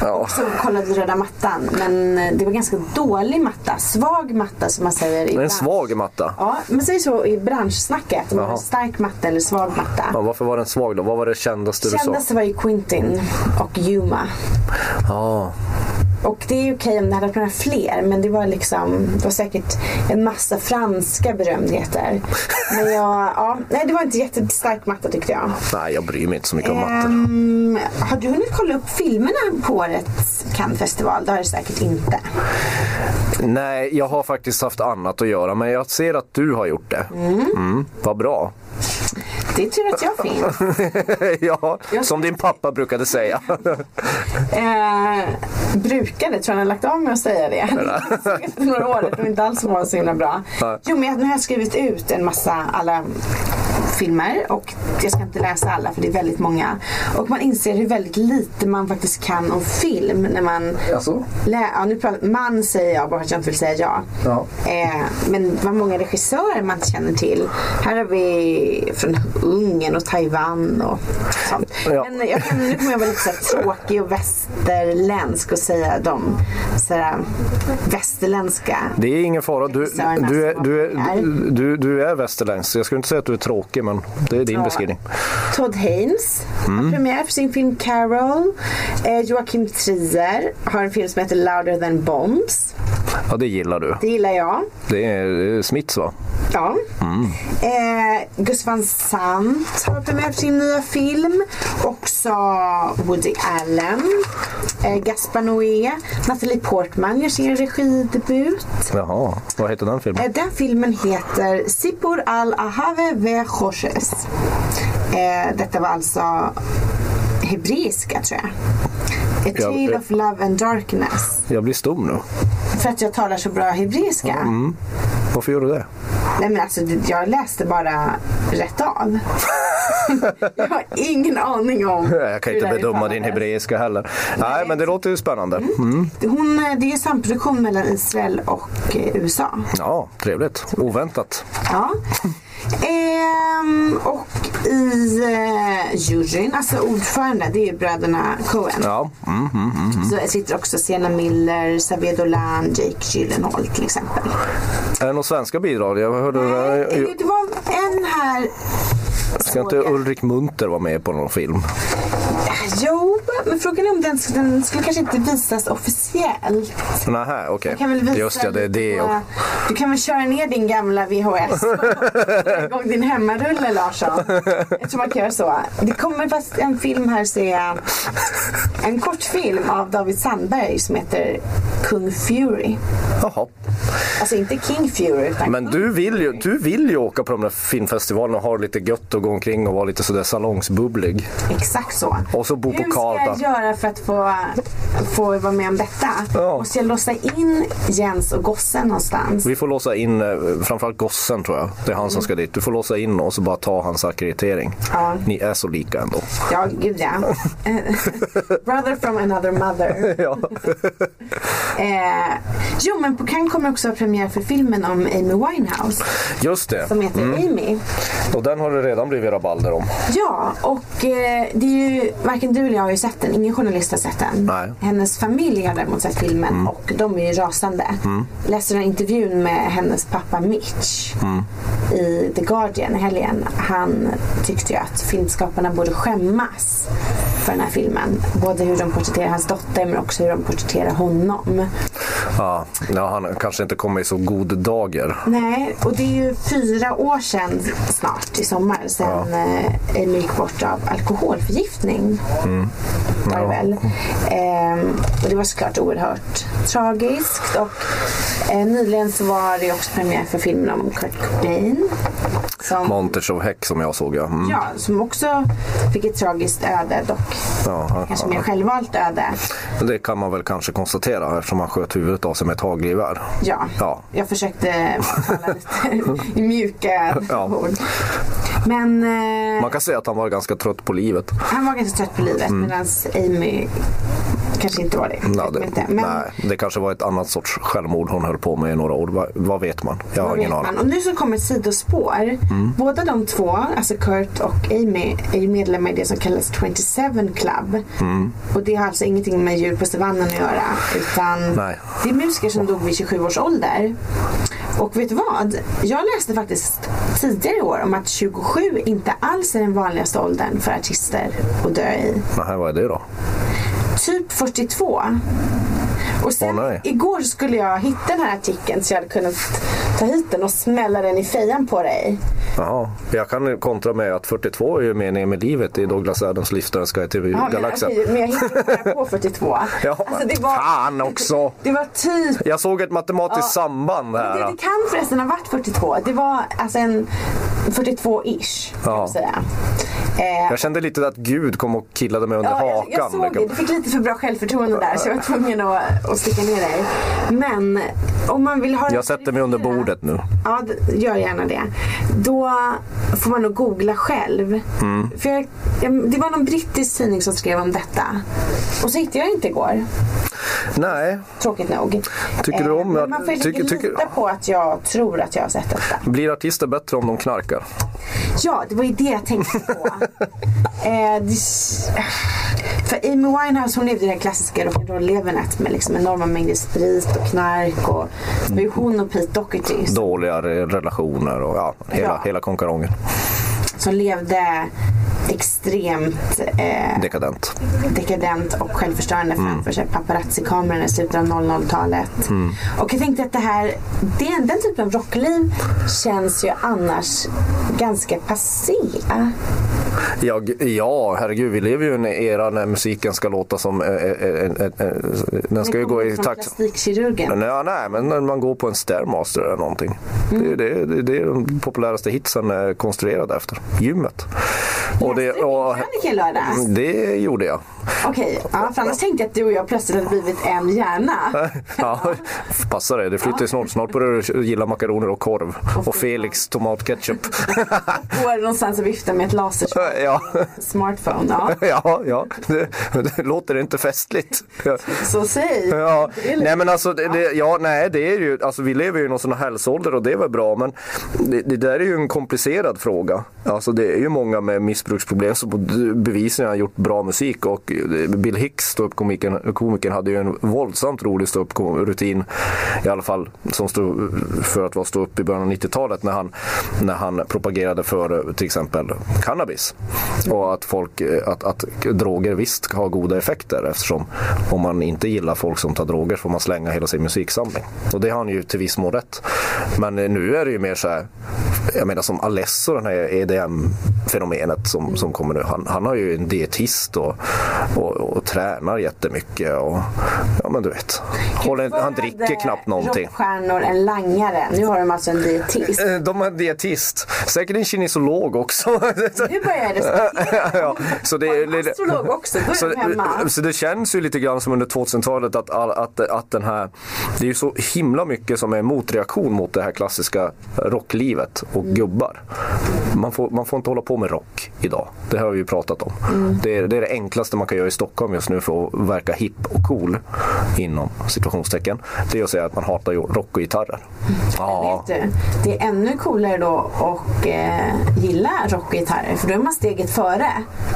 Ja.
Så kollade vi röda mattan. Men eh, det var ganska dålig matta. Svag matta som man säger. i
En
bransch.
svag matta.
Ja, man säger så i branschsnacket. Om man har
Jaha.
stark matta eller svag
Ja,
matta.
varför var den svag då? Vad var det kändaste du sa?
Kändaste var ju Quintin och Yuma.
Ja,
Och det är ju okej om det hade kunnat fler men det var liksom det var säkert en massa franska berömdheter. Men jag, ja, nej det var inte jättestark matta tyckte jag.
nej, jag bryr mig inte så mycket om matte.
Ehm, har du hunnit kolla upp filmerna på årets Cannes-festival? Det har du säkert inte.
Nej, jag har faktiskt haft annat att göra, men jag ser att du har gjort det. Mm, vad bra.
Det är tur att jag finns.
ja, som din pappa brukade säga.
Eh, brukade, tror jag han har lagt av med att säga det.
äh.
Efter några år, det var inte alls var så himla bra.
Nej.
Jo men jag- nu har jag skrivit ut en massa alla filmer och jag ska inte läsa alla för det är väldigt många. Och man inser hur väldigt lite man faktiskt kan om film när man
Jaså?
lä- ja, nu pratar, man säger jag bara för att jag inte vill säga ja.
Ja.
Eh, men vad många regissörer man inte känner till. Här har vi från Ungern och Taiwan och sånt.
Ja.
Men jag kan, nu kommer jag vara lite så här tråkig och västerländsk och säga de så här, västerländska.
Det är ingen fara, du,
Regissörerna
du, är,
som
du,
har
är,
pengar.
du, du är västerländsk. Jag skulle inte säga att du är tråkig, men det är din
Ja.
beskrivning.
Todd Haynes har premiär för sin film Carol. Eh, Joakim Trier har en film som heter Louder than bombs.
Ja, det gillar du.
Det gillar jag.
Det är eh, Smiths va?
Ja. Eh, Gus van Sant har premiär för sin nya film. Också Woody Allen. Eh, Gaspar Noé. Natalie Portman gör sin regidebut.
Jaha, vad heter den filmen?
Eh, den filmen heter Sipur al-Ahave ve Khoshes. Eh, detta var alltså hebreiska tror jag. A
Ja,
Tale
eh.
of Love and Darkness.
Jag blir stum nu.
För att jag talar så bra hebreiska.
Varför gör du det?
Nej men alltså det- jag läste bara rätt av. jag har ingen aning om.
Jag kan
hur det
inte
här
bedöma
uttalades.
din hebreiska heller. Nej, men det låter ju spännande. Mm.
Hon, eh, det är samproduktion mellan Israel och eh, USA.
Ja, trevligt. Oväntat.
Ja. Ehm, och i eh, juryn, alltså ordförande, det är ju bröderna Coen.
Ja, mm, mm, mm.
Så sitter också Sienna Miller, Xavier Dolan, Jake Gyllenhaal till exempel.
Är det några svenska bidrag? Jag hörde...
Eh,
jag-
Det var en här
Ska inte
såg jag.
Ulrik Munter vara med på någon film?
Jo, men frågan är om den, den skulle kanske inte visas officiellt.
Nähä, okej.
Du kan väl visa
Just ja, det är
lite
det.
på-
Och...
Du kan väl köra ner din gamla VHS och dra igång din hemmarulle Larsson. Jag tror man kan göra så. Det kommer fast en film här ser jag. En kortfilm av David Sandberg som heter Kung Fury.
Jaha.
Alltså inte King Fury utan
Men du vill, ju, du vill ju åka på de där filmfestivalerna och ha det lite gött och gå omkring och vara lite sådär salongsbubblig.
exakt så.
Och så bo på
Hur ska jag
Karlstad.
göra för att få, få vara med om detta?
Ja.
Måste jag låsa in Jens och gossen någonstans?
Vi får låsa in eh, framförallt gossen tror jag. Det är han som ska dit. Du får låsa in och så bara ta hans ackreditering.
Mm. Ja.
Ni är så lika ändå.
Ja, gud ja. Brother from another mother.
Ja.
Eh, jo, men på Cannes kommer också premiär för filmen om Amy Winehouse
Just det.
som heter Amy.
Och den har det redan blivit rabalder om.
Ja, och eh, det är ju varken du eller jag har ju sett den. Ingen journalist har sett den.
Nej.
Hennes familj har däremot sett filmen och de är ju rasande. Läste den intervjun med hennes pappa Mitch i The Guardian i helgen. Han tyckte ju att filmskaparna borde skämmas för den här filmen. Både hur de porträtterar hans dotter men också hur de porträtterar honom.
Ja, ja, han kanske inte kommer i så god dager.
Nej, och det är ju fyra år sedan snart i sommar sedan ja. Emil gick bort av alkoholförgiftning.
Mm.
Var det, väl. Ehm, och det var såklart oerhört tragiskt. Och eh, nyligen så var det också premiär för filmen om Kurt Cobain. Som,
Montage of Heck som jag såg ja. Mm.
ja, som också fick ett tragiskt öde, dock
Ja, han-
kanske mer självvalt öde.
Det kan man väl kanske konstatera eftersom han sköt huvudet av sig med ett hagelgevär.
Ja.
Ja.
jag försökte tala lite i mjuka
Ja.
ord. Men eh,
Man kan säga att han var ganska trött på livet.
han var ganska trött på livet medan Amy kanske inte var det.
Nej,
Vet man
Mm. det,
inte. Men
nej, det kanske var ett annat sorts självmord hon höll på med i några år. Vad, vad vet man? Jag
vad
har ingen
vet man?
aning. Mm.
Och nu så kommer ett sidospår. Båda de två, alltså Kurt och Amy, är ju medlemmar i det som kallas 27 Club.
Mm.
Och det har alltså ingenting med djur på savannen att göra. Utan
Nej.
det är musiker som dog vid 27 års ålder. Och vet du vad? Jag läste faktiskt tidigare i år om att 27 inte alls är den vanligaste åldern för artister att dö i.
Nej, vad är det då?
Typ 42. Och sen
Åh, nej.
igår skulle jag hitta den här artikeln så jag hade kunnat ta hit den och smälla den i fejan på dig.
Jaha. Jag kan ju kontra med att 42 är ju meningen med livet i Douglas Adams livsdans guide till
Ja, men,
galaxen.
okej, men jag hittade bara på 42.
Ja,
Alltså, det var,
Fan också!
Det var typ...
Jag såg ett matematiskt
Ja.
samband här.
Det, det kan förresten ha varit 42. Det var alltså en 42-ish kan
Ja.
man säga. Eh,
Jag kände lite att Gud kom och killade mig under
Ja, jag,
hakan. liksom.
jag såg det. Du fick lite för bra självförtroende där så jag var tvungen att, att sticka ner dig. Men om man vill ha
Jag sätter mig under bordet nu.
Ja, d- gör gärna det. Då får man nog googla själv.
Mm.
För jag, jag, det var någon brittisk tidning som skrev om detta. Och så hittade jag inte igår,
Nej,
tråkigt nog. Eh,
Tycker du om
men
att-
Man får
tycker-
tycker, lita
tycker-
på att jag tror att jag har sett detta.
blir artister bättre om de knarkar?
Ja, det var ju det jag tänkte på. eh, det, för Amy Winehouse hon levde ju det här klassiska rock'n'roll-levernet med liksom enorma mängder sprit och knark. Och, det var ju hon och Pete Doherty som,
Dåliga re- relationer och ja, hela,
Ja.
hela konkarongen.
som levde extremt eh,
Dekadent.
dekadent och självförstörande
Mm.
framför sig. Paparazzi-kamerorna i slutet av 00-talet. Och jag tänkte att det här, det, den typen av rockliv känns ju annars ganska passé.
Jag, ja, herregud, vi lever ju i en era när musiken ska låta som... Eh, eh, eh, eh, eh, den ska ju gå i
från
takt.
plastikkirurgen.
Nej, nej, men när man går på en Stairmaster eller någonting.
Mm.
Det, är- det, är- det, är- det är den populäraste hitsen är konstruerad efter. Gymmet. Och det, och,
Krönika i lördags.
det gjorde jag.
Okej, ja, för annars tänkte jag att du och jag plötsligt hade blivit en hjärna.
Ja, passa dig, det flyttar ju snart. Snart börjar du gilla makaroner och korv. Och Felix tomatketchup.
Går någonstans och viftar med ett lasersmartphone.
Ja,
Ja,
ja, ja. Det, det låter inte festligt.
så säg.
Ja, nej men alltså, det, det, ja, nej, det är ju, alltså vi lever ju i någon sån här hälsoålder och det är väl bra men det, det där är ju en komplicerad fråga. Alltså det är ju många med missbruksproblem som bevisligen har gjort bra musik och eh, Bill Hicks, ståuppkomikern, komikern, hade ju en våldsamt rolig ståupprutin i alla fall som stod för att vara ståupp i början av 90-talet när han, när han propagerade för eh, till exempel cannabis. Och att, folk, eh, att, att droger visst har goda effekter eftersom om man inte gillar folk som tar droger får man slänga hela sin musiksamling. Och det har han ju till viss mån rätt. Men eh, nu är det ju mer så här, jag menar som Alesso, den här EDM-fenomenet som, som kommer nu. Han, han har ju en dietist och, och, och tränar jättemycket. Och, ja men du vet, håller, inte- han dricker knappt någonting.
Rockstjärnor en langare. Nu har de alltså en dietist.
Eh, De har en dietist, säkert en kinesolog också.
Nu börjar jag respektera.
ja, så det är
Och en
lite-
astrolog också, då är
så,
de hemma.
så det känns ju lite grann som under 2000-talet att, all- att, att den här, det är ju så himla mycket som är motreaktion mot det här klassiska rocklivet och
Mm.
gubbar. Man får, man får inte hålla på med rock idag, det har vi ju pratat om.
Mm.
Det, är, det är det enklaste man kan göra i Stockholm just nu för att verka hipp och cool, inom situationstecken. Det är att säga att man hatar ju rock och gitarrer.
Mm.
Ja,
Vet du, det är ännu coolare då att eh, gilla rockgitarrer för då är man steget före.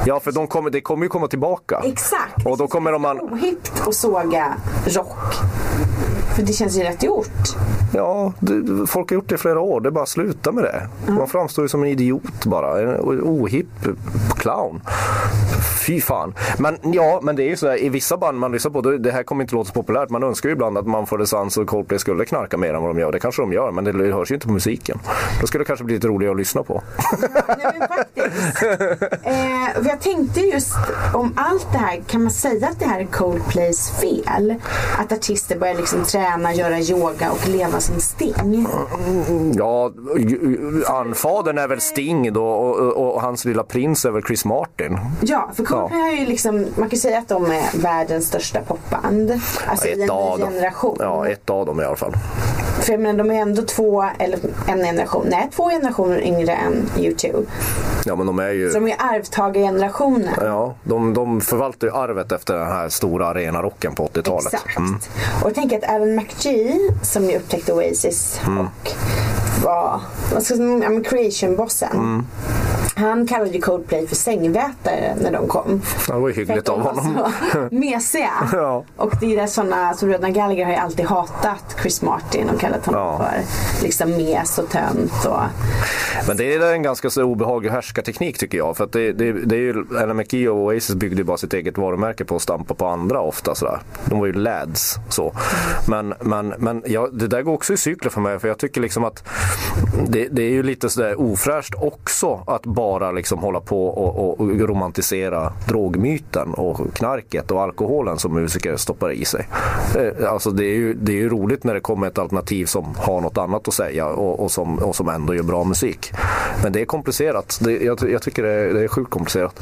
ja för de kommer, det kommer ju komma tillbaka.
Exakt.
Och då kommer de an-
Ohippt att såga rock. För det känns ju rätt gjort.
Ja, det, folk har gjort det i flera år. Det är bara att sluta med det. Man framstår ju som en idiot bara. En ohipp clown. Fy fan. Men ja, men det är ju sådär i vissa band man lyssnar på, det, det här kommer inte låta så populärt. Man önskar ju ibland att man får sans och Coldplay skulle knarka mer än vad de gör. Det kanske de gör, men det hörs ju inte på musiken. Då skulle det kanske bli lite roligare att lyssna på.
Nej, men faktiskt. Eh, och jag tänkte just om allt det här, kan man säga att det här är Coldplays fel? Att artister börjar liksom träna, göra yoga och leva som Sting.
Ja, ju- ju- anfadern är väl Sting då och, och, och hans lilla prins är väl Chris Martin.
Ja, för Coldplay har ju liksom, man kan säga att de är världens största popband. Alltså i en ny generation.
Ja, ett av dem i alla fall.
För jag menar, de är ändå två, eller en generation, nej två generationer yngre än U2.
Ja, men de är ju...
Så de är ju arvtagargenerationen.
Ja, de, de förvaltar ju arvet efter den här stora arenarocken på 80-talet.
Exakt.
Mm.
Och jag tänker att även McGee som ju upptäckte Oasis
Mm.
och var vad ska jag säga, ja, men creation-bossen.
Mm.
Han kallade ju Coldplay för sängvätare när de kom.
Ja, det var ju
För att
hyggligt
de
av
var
honom.
så mesiga.
Ja.
Och det är sådana som Bröderna Gallagher har ju alltid hatat Chris Martin och kallat honom
Ja.
för liksom mes och tönt. Och,
Men det är en ganska så obehaglig härskarteknik tycker jag. För att det, det, det är ju, LMKI och Oasis byggde ju bara sitt eget varumärke på att stampa på andra ofta sådär. De var ju lads så. Men, men, men ja, det där går också i cykler för mig. För jag tycker liksom att det, det är ju lite sådär ofräscht också att bara liksom hålla på och, och romantisera drogmyten och knarket och alkoholen som musiker stoppar i sig. Eh, Alltså det är ju, det är ju roligt när det kommer ett alternativ som har något annat att säga och, och, som, och som ändå gör bra musik. Men det är komplicerat. Det, jag, ty- jag tycker det är, det är sjukt komplicerat.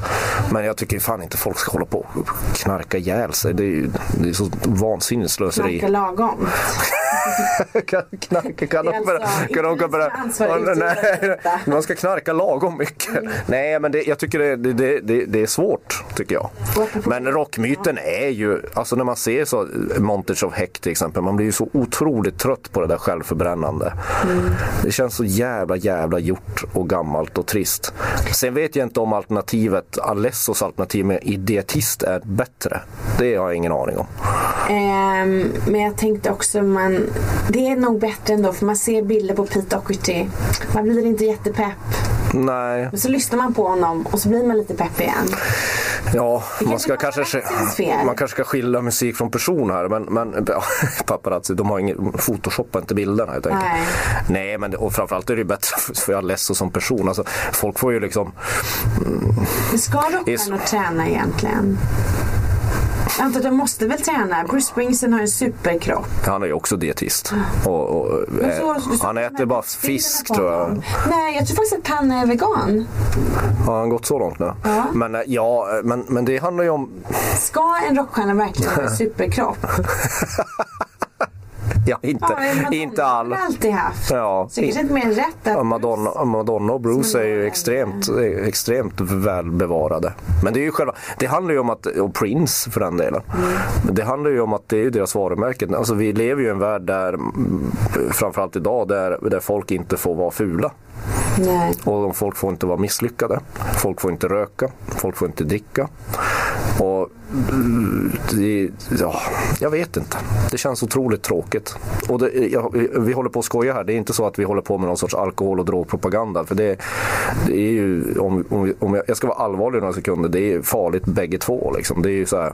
Men jag tycker fan inte folk ska hålla på och knarka ihjäl sig. Det är ju det är så vansinnigt slöseri.
Snacka lagom.
Knarka kan
Det är
de börja...
alltså inte
kan de
vi som
börja-
är ansvariga
Nej,
utgivare.
Man ska knarka lagom mycket.
Mm.
Nej, men det, jag tycker det, det- det, det, det är svårt, tycker jag. Men rockmyten är ju, alltså när man ser så Montage of Heck till exempel, man blir ju så otroligt trött på det där självförbrännande.
Mm.
Det känns så jävla, jävla gjort och gammalt och trist. Sen vet jag inte om alternativet, Alessos alternativ med idiotist är bättre. Det har jag ingen aning om.
Ehm, men jag tänkte också man, det är nog bättre ändå för man ser bilder på Pete Doherty. Man blir inte jättepepp.
Nej,
Men så lyssnar man på honom och så blir man lite pepp igen.
Ja, man
kanske
ska,
är
kanske,
paparazzis fel.
man kanske ska skilja musik från person här. Men, men ja, paparazzi, de har ingen, photoshoppar inte bilderna helt enkelt.
Nej.
Nej, men det, och framförallt är det ju bättre för- för jag Alesso som person. Alltså, folk får ju liksom,
Men ska
Is-
rockstjärnor träna egentligen? Jag antar att de måste väl träna. Bruce Springsteen har en superkropp.
han är ju också dietist. Och, och,
Mm. Men
eh,
så- så- så-
han
de här
äter bara
bilderna
fisk
på
tror jag.
honom. Nej, jag tror faktiskt att han är vegan.
Har han gått så långt nu?
Ja.
Men, eh, ja, men, men det handlar ju om,
Ska en rockstjärna verkligen ha en superkropp?
ja inte,
men Madonna
inte
har
all.
väl alltid haft.
Ja,
Så det kanske
in-
inte är mer än rätt att...
Ja, Madonna, Madonna och Bruce är ju extremt, eh, extremt välbevarade. Men det är ju själva, det handlar ju om att, och Prince för den delen. Men Det handlar ju om att det är ju deras varumärken. Alltså vi lever ju i en värld där, mm, framförallt idag, där, där folk inte får vara fula.
Nej.
Och de- folk får inte vara misslyckade. Folk får inte röka. Folk får inte dricka. Och mm, det, ja, jag vet inte. Det känns otroligt tråkigt. Och det, ja, vi- vi håller på att skoja här. Det är inte så att vi håller på med någon sorts alkohol och drogpropaganda. För det, det är ju, om, om, vi- om jag, jag ska vara allvarlig några sekunder, det är ju farligt bägge två. Liksom. Det är ju så här,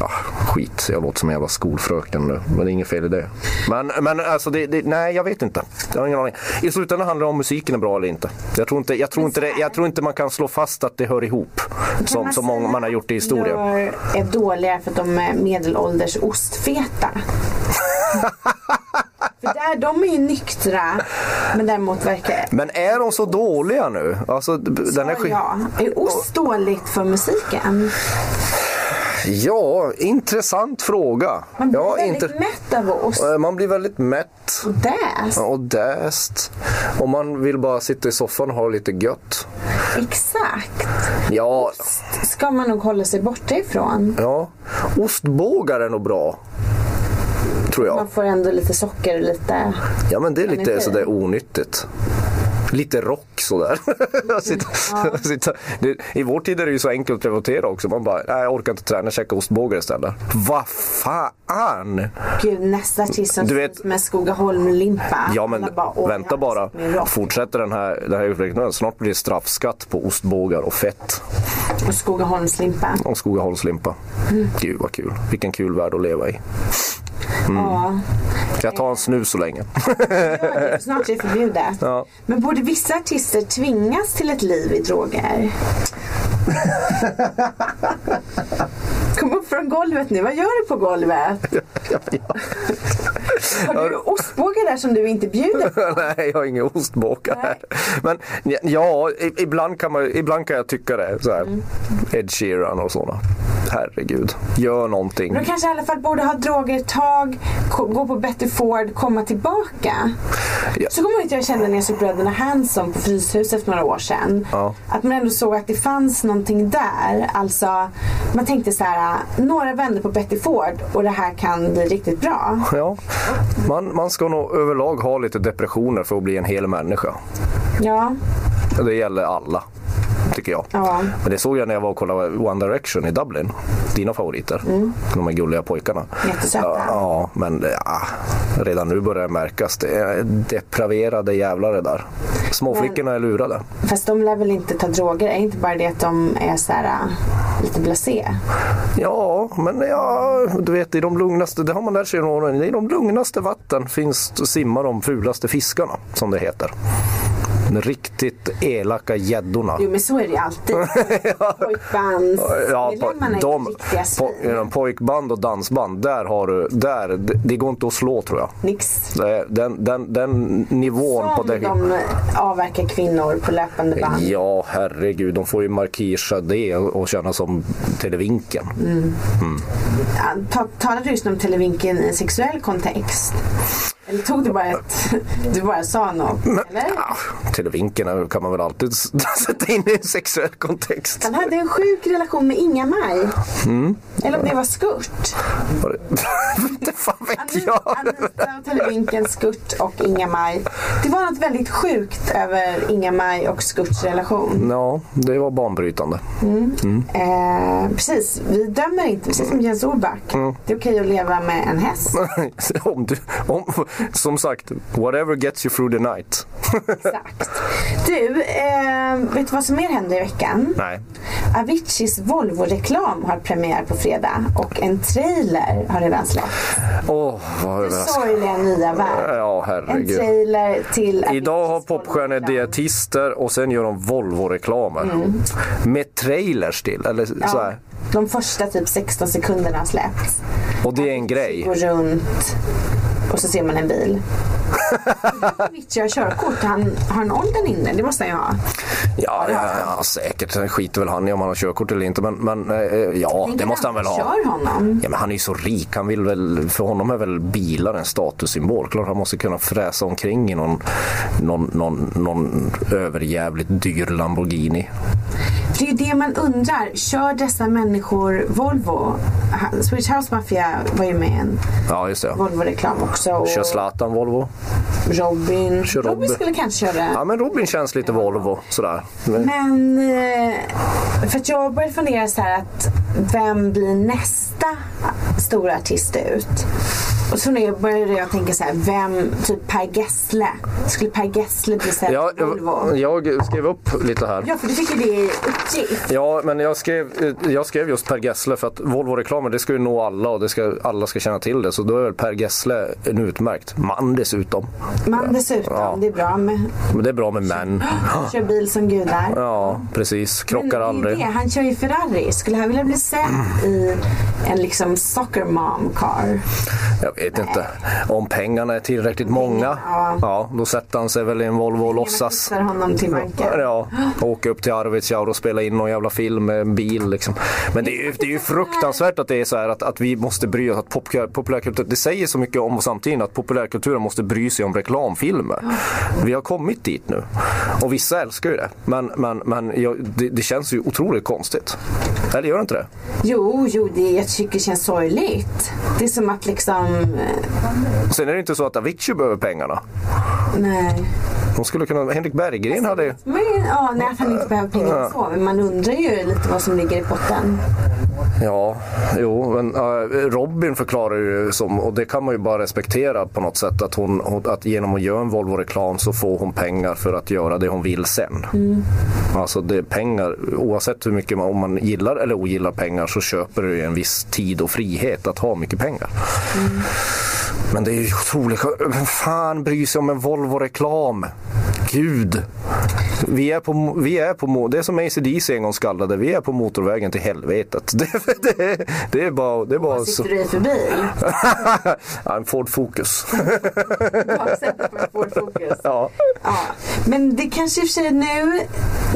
ja, skit. Jag låter som en jävla skolfröken nu. Men det är inget fel i det. Men, men alltså, det, det, nej jag vet inte. Jag har ingen aning. I slutändan handlar det om musiken är bra eller inte. Jag tror inte, jag tror inte, det, jag tror inte man kan slå fast att det hör ihop. Som,
alltså,
som många, man har gjort i historien.
Gör är dåliga för att de är medelålders ostfeta. för där, de är ju nyktra, men däremot verkar...
Men är de så dåliga nu? Alltså, d- den här
Ja,
sk-
ja. Är ost dåligt för musiken?
ja, intressant fråga.
Man blir
ja,
väldigt
inte-
mätt av ost
Eh, Man blir väldigt mätt
och däst.
och däst. Och man vill bara sitta i soffan och ha lite gött.
Exakt.
Ja,
Ska man nog hålla sig borta ifrån.
ja. ostbågar är nog bra. Tror jag.
Man får ändå lite socker och lite...
Ja men det är lite
Energi.
sådär onyttigt. Lite rock sådär. sitta, sitta. Det, I vår tid är det ju så enkelt att revoltera också. Man bara, nej jag orkar inte träna, käka ostbågar istället. Vad fan!
Gud, nästa artist som
Du
du
vet-
vet, med Skogaholm-limpa.
Ja men
Alla "Åh,
vänta
jag har
bara.
sett min rock."
Fortsätter den här, den här utvecklingen. Snart blir det straffskatt på ostbågar och fett.
Och Skogaholmslimpa.
Och Skogaholmslimpa. Gud vad kul. Vilken kul värld att leva i. Mm.
Ja.
Kan jag ta en snus så länge?
Snart är det förbjudet.
Ja.
Men borde vissa artister tvingas till ett liv i droger? Kom upp från golvet nu. Vad gör du på golvet? Har du ostbågar där som du inte bjuder på?
Nej, jag har ingen ostbåkare här. Men ja, i- ibland kan, man, ibland kan jag tycka det. Så här. Ed Sheeran och sådana. Herregud, gör någonting.
De kanske i alla fall borde ha droger ett tag, ko- gå på Betty Ford, komma tillbaka.
Ja.
Så kommer jag ihåg att jag kände när jag såg Bröderna Hanson på Fryshuset för några år sedan.
Ja.
Att man ändå såg att det fanns någonting där. Alltså, man tänkte så här, några vänner på Betty Ford och det här kan bli riktigt bra.
Ja, man, man ska nog överlag ha lite depressioner för att bli en hel människa.
Ja,
Det gäller alla, tycker jag.
ja.
Men det såg jag när jag var och kollade One Direction i Dublin. Dina favoriter. De här gulliga pojkarna.
Mm. Jättesöta.
Ja, ja, men det- ja, redan nu börjar det märkas. Det är depraverade jävlar det där. Småflickorna är lurade.
Fast de lär väl inte ta droger? Är inte bara det att de är så här äh, lite blasé?
Ja, men ja, du vet i de lugnaste, det har man lärt sig genom åren, i de lugnaste vatten finns simmar de fulaste fiskarna, som det heter. De riktigt elaka gäddorna.
Jo men så är det ju alltid.
Ja, på,
Pojkbandsmedlemmarna är
de,
riktiga
på,
svin.
genom pojkband och dansband, där har du, där, det, det går inte att slå tror jag.
Nix.
Det är- Den, den, den nivån på
Som
det.
de eh, avverkar kvinnor på löpande band.
Ja, herregud, de får ju markera det och och känna som Televinken.
Mm. Ja, ta- Talade just om Televinken i en sexuell kontext? Eller tog du bara ett... Du bara sa något, eller?
Ah, Televinken är- kan man väl alltid s- sätta in i en sexuell kontext.
Han hade en sjuk relation med Inga-Maj.
Mm.
Eller om det var Skurt.
Var det- Inte fan vet
Anita,
jag.
Anita och Televinken, Skurt och Inga-Maj. Det var något väldigt sjukt över Inga-Maj och Skurts relation.
Ja, det var banbrytande. Mm.
Eh, precis, vi dömer inte. Precis som Jens Orback.
Mm.
Det är okej att leva med en häst.
om du, om, som sagt, whatever gets you through the night.
Exakt. Du, eh, vet du vad som mer händer i veckan?
Nej.
Aviciis Volvo-reklam har premiär på fredag och en trailer har redan släppts.
Åh, vad överraskande.
Sorgliga nya värld.
Ja,
En
herregud.
trailer till Aviciis
Idag har popstjärnor
Volvo-reklam.
dietister och sen gör de Volvo-reklamer. Med trailers till. Eller så
Ja,
här.
de första typ 16 sekunderna har släppts.
Och det är en grej.
Går runt och så ser man en bil. Avicii har körkort. Han har en åldern inne. Det måste han ju ha.
Ja, ja, ja säkert. Sen skiter väl han i om han har körkort eller inte. Men, men eh, ja, det måste han väl ha.
Kör honom.
Ja, men han är ju så rik. Han vill väl, för honom är väl bilar en statussymbol. Klart han måste kunna fräsa omkring i någon, någon, någon, någon överjävligt dyr Lamborghini.
Det är ju det man undrar. Kör dessa människor Volvo? Han- Swedish House Mafia var ju med i en
Ja, just det.
Volvo-reklam också. Och
Kör Zlatan Volvo?
Robin.
Kör
Robin
Robin.
skulle kanske köra.
Ja, men Robin känns lite Volvo sådär. Men,
Men eh, för att jag började fundera så här att vem blir nästa stora artist ut? Och så nu började jag tänka så här, vem, typ Per Gessle. Skulle Per Gessle bli sedd
Ja,
på Volvo?
jag, jag skrev upp lite här.
Ja, för du fick ju det i uppgift.
Ja, men jag skrev, eh, jag skrev just Per Gessle för att Volvo-reklamen det ska ju nå alla och det ska, alla ska känna till det. Så då är väl Per Gessle en utmärkt man dessutom.
Man dessutom,
Ja.
det är bra med
Men det är bra med män.
kör bil som gudar.
Ja, precis.
Men det
Krockar
är ju
aldrig.
det, Han kör ju Ferrari. Skulle han vilja bli sedd i en liksom soccer mom car?
Jag vet inte. Om pengarna är tillräckligt många,
ja.
ja, då sätter han sig väl i en Volvo och låtsas.
Jag honom till banken.
Ja, åka upp till Arvidsjaur och spela in någon jävla film med en bil. Liksom. Men det är, ju, det är ju fruktansvärt att det är så här att, att vi måste bry oss. Att popkö- populärkultur, det säger så mycket om samtiden att populärkulturen måste bry sig om reklamfilmer. Vi har kommit dit nu. Och vissa älskar ju det. Men, men, men jag, det, det känns ju otroligt konstigt. Eller gör det inte det?
Jo, jo, det jag tycker det känns sorgligt. Det är som att liksom... eh,
Sen är det inte så att Avicii behöver pengarna.
Nej.
De skulle kunna, Henrik Berggren hade ju...
Men, ja, nej, att han inte behöver pengar så. Men man undrar ju lite vad som ligger i potten.
Ja, jo, men eh, Robin förklarar ju som, och det kan man ju bara respektera på något sätt, att, hon, hon- att genom att göra en Volvo-reklam så får hon pengar för att göra det hon vill sen. Alltså det är pengar, oavsett hur mycket man, om man gillar eller ogillar pengar så köper du ju en viss tid och frihet att ha mycket pengar. Men det är ju otroligt skö- Vem fan bryr sig om en Volvo-reklam? Gud! Vi är på, vi är på, mo- det är som ACDC en gång skallade, vi är på motorvägen till helvetet. Det, det, är- det är bara, det är bara
Vad
så.
sitter du i för bil?
Ja, en Ford Focus.
Baksätet på en Ford Focus.
Ja.
Ja. Men det kanske i och för sig nu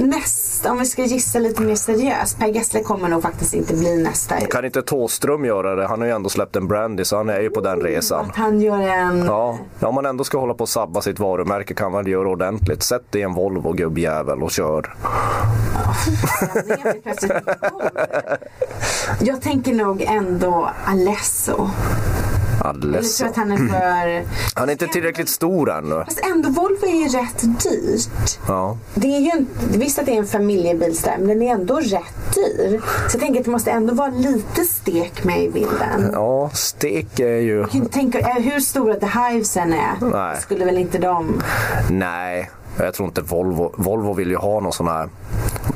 nästa, om vi ska gissa lite mer seriöst. Per Gessle kommer nog faktiskt inte bli nästa.
Kan inte Tåström göra det? Han har ju ändå släppt en brandy så han är ju på den resan.
Att han gör en...
Ja, om man ändå ska hålla på och sabba sitt varumärke kan man göra ordentligt. Sätt dig i en Volvo gubbjävel och kör.
Stämningen blir plötsligt god. Jag tänker nog ändå Alesso. Jag
Alldeles.
tror att han är för...
Han är inte tillräckligt stor ännu.
Fast ändå, Volvo är ju rätt dyrt.
Ja.
Det är ju en, visst att det är en familjebilsdrive, men den är ändå rätt dyr. Så jag tänker att det måste ändå vara lite stek med i bilden.
Ja, stek är ju...
Jag kan inte tänka, eh, hur stora The Hivesen är
Nej.
skulle väl inte de...
Nej, jag tror inte Volvo. Volvo vill ju ha någon sån här...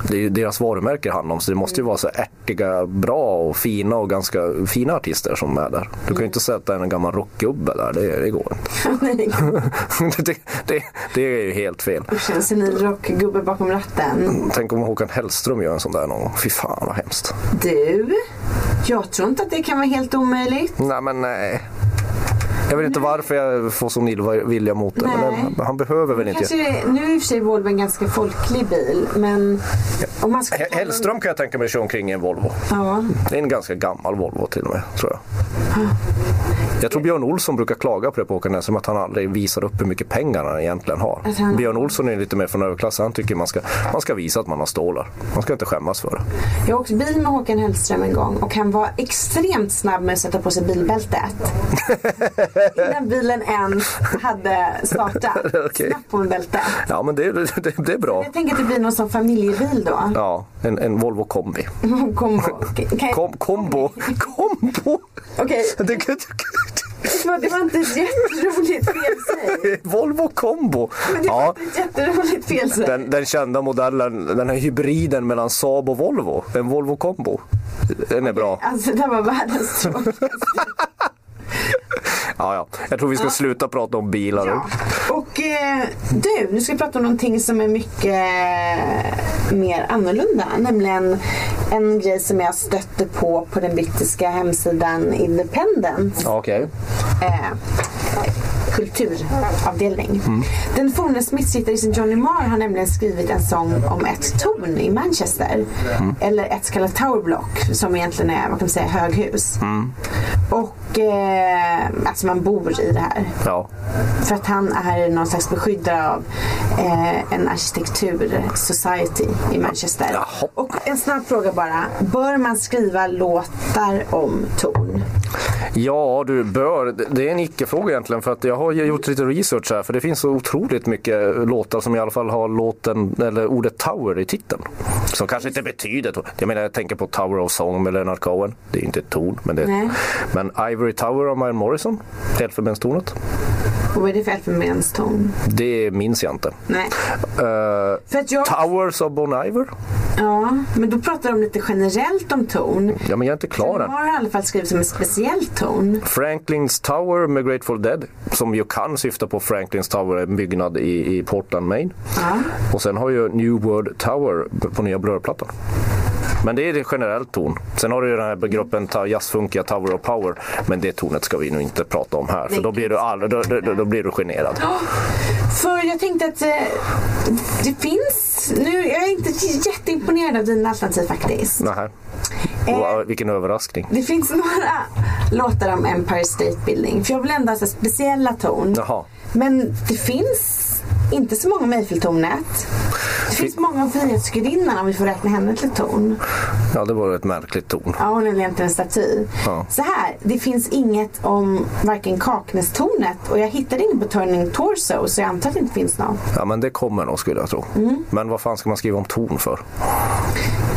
Det är ju deras varumärke det handlar om så det måste ju vara så ärtiga, bra och fina och ganska fina artister som är där. Du kan ju inte sätta en gammal rockgubbe där, det, det går inte.
Nej,
det, det, det är ju helt fel.
usch, en senil rockgubbe bakom ratten.
Tänk om Håkan Hellström gör en sån där någon gång. Fy fan vad hemskt.
Du, jag tror inte att det kan vara helt omöjligt.
Nej men nej. Jag vet inte varför jag får sån illa vilja mot det. Men
Nej.
det- han behöver väl inte...
Kanske, nu är i och för sig Volvo en ganska folklig bil, men om man ska...
He- Hellström kan jag tänka mig kör omkring i en Volvo.
Ja,
Det är en ganska gammal Volvo till och med, tror jag. Jag tror Björn Olsson brukar klaga på det på Håkan Hellström, att han aldrig visar upp hur mycket pengar han egentligen har.
Att Alltså, han-
Björn Olsson är lite mer från överklassen. Han tycker man ska, man ska visa att man har stålar. Man ska inte skämmas för det.
jag åkte bil med Håkan Hellström en gång och han var extremt snabb med att sätta på sig bilbältet. Innan bilen ens hade startat.
Okej.
Snabbt på med bältet.
Ja, men det, det, det är bra.
Jag tänker att det blir någon sån familjebil då.
Ja, en, en Volvo kombi.
Kombo. Okej, kan jag-
Kom, kombo! Kombo!
Okej,
Det, kan- det,
det var- det var inte ett jätteroligt felsäg.
det, Volvo kombo!
Men det var
Ja,
inte ett jätteroligt felsäg.
den, den kända modellen, den här hybriden mellan Saab och Volvo. En Volvo kombo. Den är bra.
Alltså det här var världens tråkigaste.
Ja, ja. Jag tror vi ska sluta prata om bilar nu.
Ja. Och eh, du, nu ska vi prata om någonting som är mycket mer annorlunda. Nämligen en grej som jag stötte på på den brittiska hemsidan Independent.
Ja, Okej.
Eh, kulturavdelning. Den forne smittgitarristen Johnny Marr har nämligen skrivit en sång om ett torn i Manchester. Eller ett så kallat Tower Block som egentligen är, vad kan man säga, höghus. Och eh, alltså man bor i det här.
Ja.
För att han är någon slags beskyddare av eh, en arkitektur society i Manchester.
Jaha.
Och en snabb fråga bara. Bör man skriva låtar om torn?
ja, du bör. Det- Det är en icke-fråga egentligen för att jag har ju gjort lite research här för det finns så otroligt mycket låtar som i alla fall har låten, eller ordet Tower i titeln. Som kanske inte betyder to- Jag menar, jag tänker på Tower of Song med Leonard Cohen. Det är ju inte ett torn, men det
Nej.
Men Ivory Tower av Mile Morrison, Elfenbenstornet.
Och vad är det för elfenbenstorn?
Det minns jag inte.
Nej.
Eh,
För att jag...
Towers of Bon Iver?
Ja, men då pratar de lite generellt om torn.
Ja, men jag är inte klar
De
än.
har i alla fall skrivit som en speciell ton.
Franklins Tower med Grateful Dead, som ju kan syfta på Franklins Tower, en byggnad i, i Portland, Maine.
Ja.
Och sen har ju New World Tower på nya Blur-plattan. Men det är det generellt ton. Sen har du ju den här gruppen ta- jazzfunkiga Tower of Power. Men det tonet ska vi nog inte prata om här. För
Nej.
då blir, du all, då, då, då- då blir du generad.
För jag tänkte att eh, det finns... Nu, jag är inte jätteimponerad av dina alternativ faktiskt.
Nähä.
Eh.
Wow, vilken överraskning.
Det finns några låtar om Empire State Building. För jag vill ändå ha så här speciella ton.
Jaha.
Men det finns inte så många om Eiffeltornet. Det finns många om Frihetsgudinnan om vi får räkna henne till torn.
Ja, det var ett märkligt ton.
Ja, hon är egentligen en staty.
Ja.
Så här, det finns inget om varken Kaknästornet och jag hittade inget på Turning Torso så jag antar att det inte finns något.
Ja, men det kommer nog skulle jag tro. Men vad fan ska man skriva om ton för?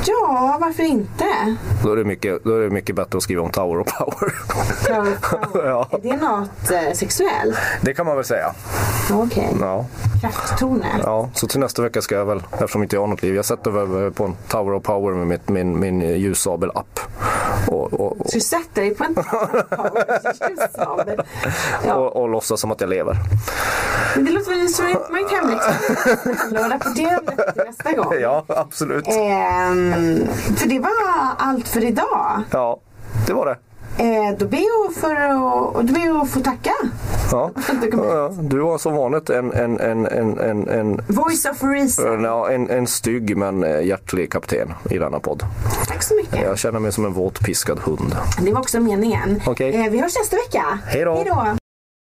Ja, varför inte?
Då är det mycket, då är det mycket bättre att skriva om Tower of Power.
Flower power.
ja,
Är det något eh, sexuellt?
det kan man väl säga.
Okej.
Ja,
Krafttoner.
ja. Så till nästa vecka ska jag väl, eftersom inte jag har något liv, jag sätter väl på en Tower of Power med mitt, min, min ljussabel-app. Och, och, och,
Så du sätter dig på en power ja,
och, och låtsas som att jag lever.
men Det låter väl som en utmärkt hemläxa. Och rapportera om detta till nästa gång.
Ja, absolut.
Eh. Ehm, för det var allt för idag.
Ja, det var det.
Eh, då ber jag för att, då ber jag att få tacka.
Ja.
Du kom hit.
Ja, du har som vanligt en, en, en, en, en, en
Voice of reason.
Ja, en, en stygg men eh, hjärtlig kapten i denna podd.
Tack så mycket.
Jag känner mig som en våt piskad hund.
Det var också meningen.
Okej.
Eh, vi hörs nästa vecka.
Hej då.
Hej då.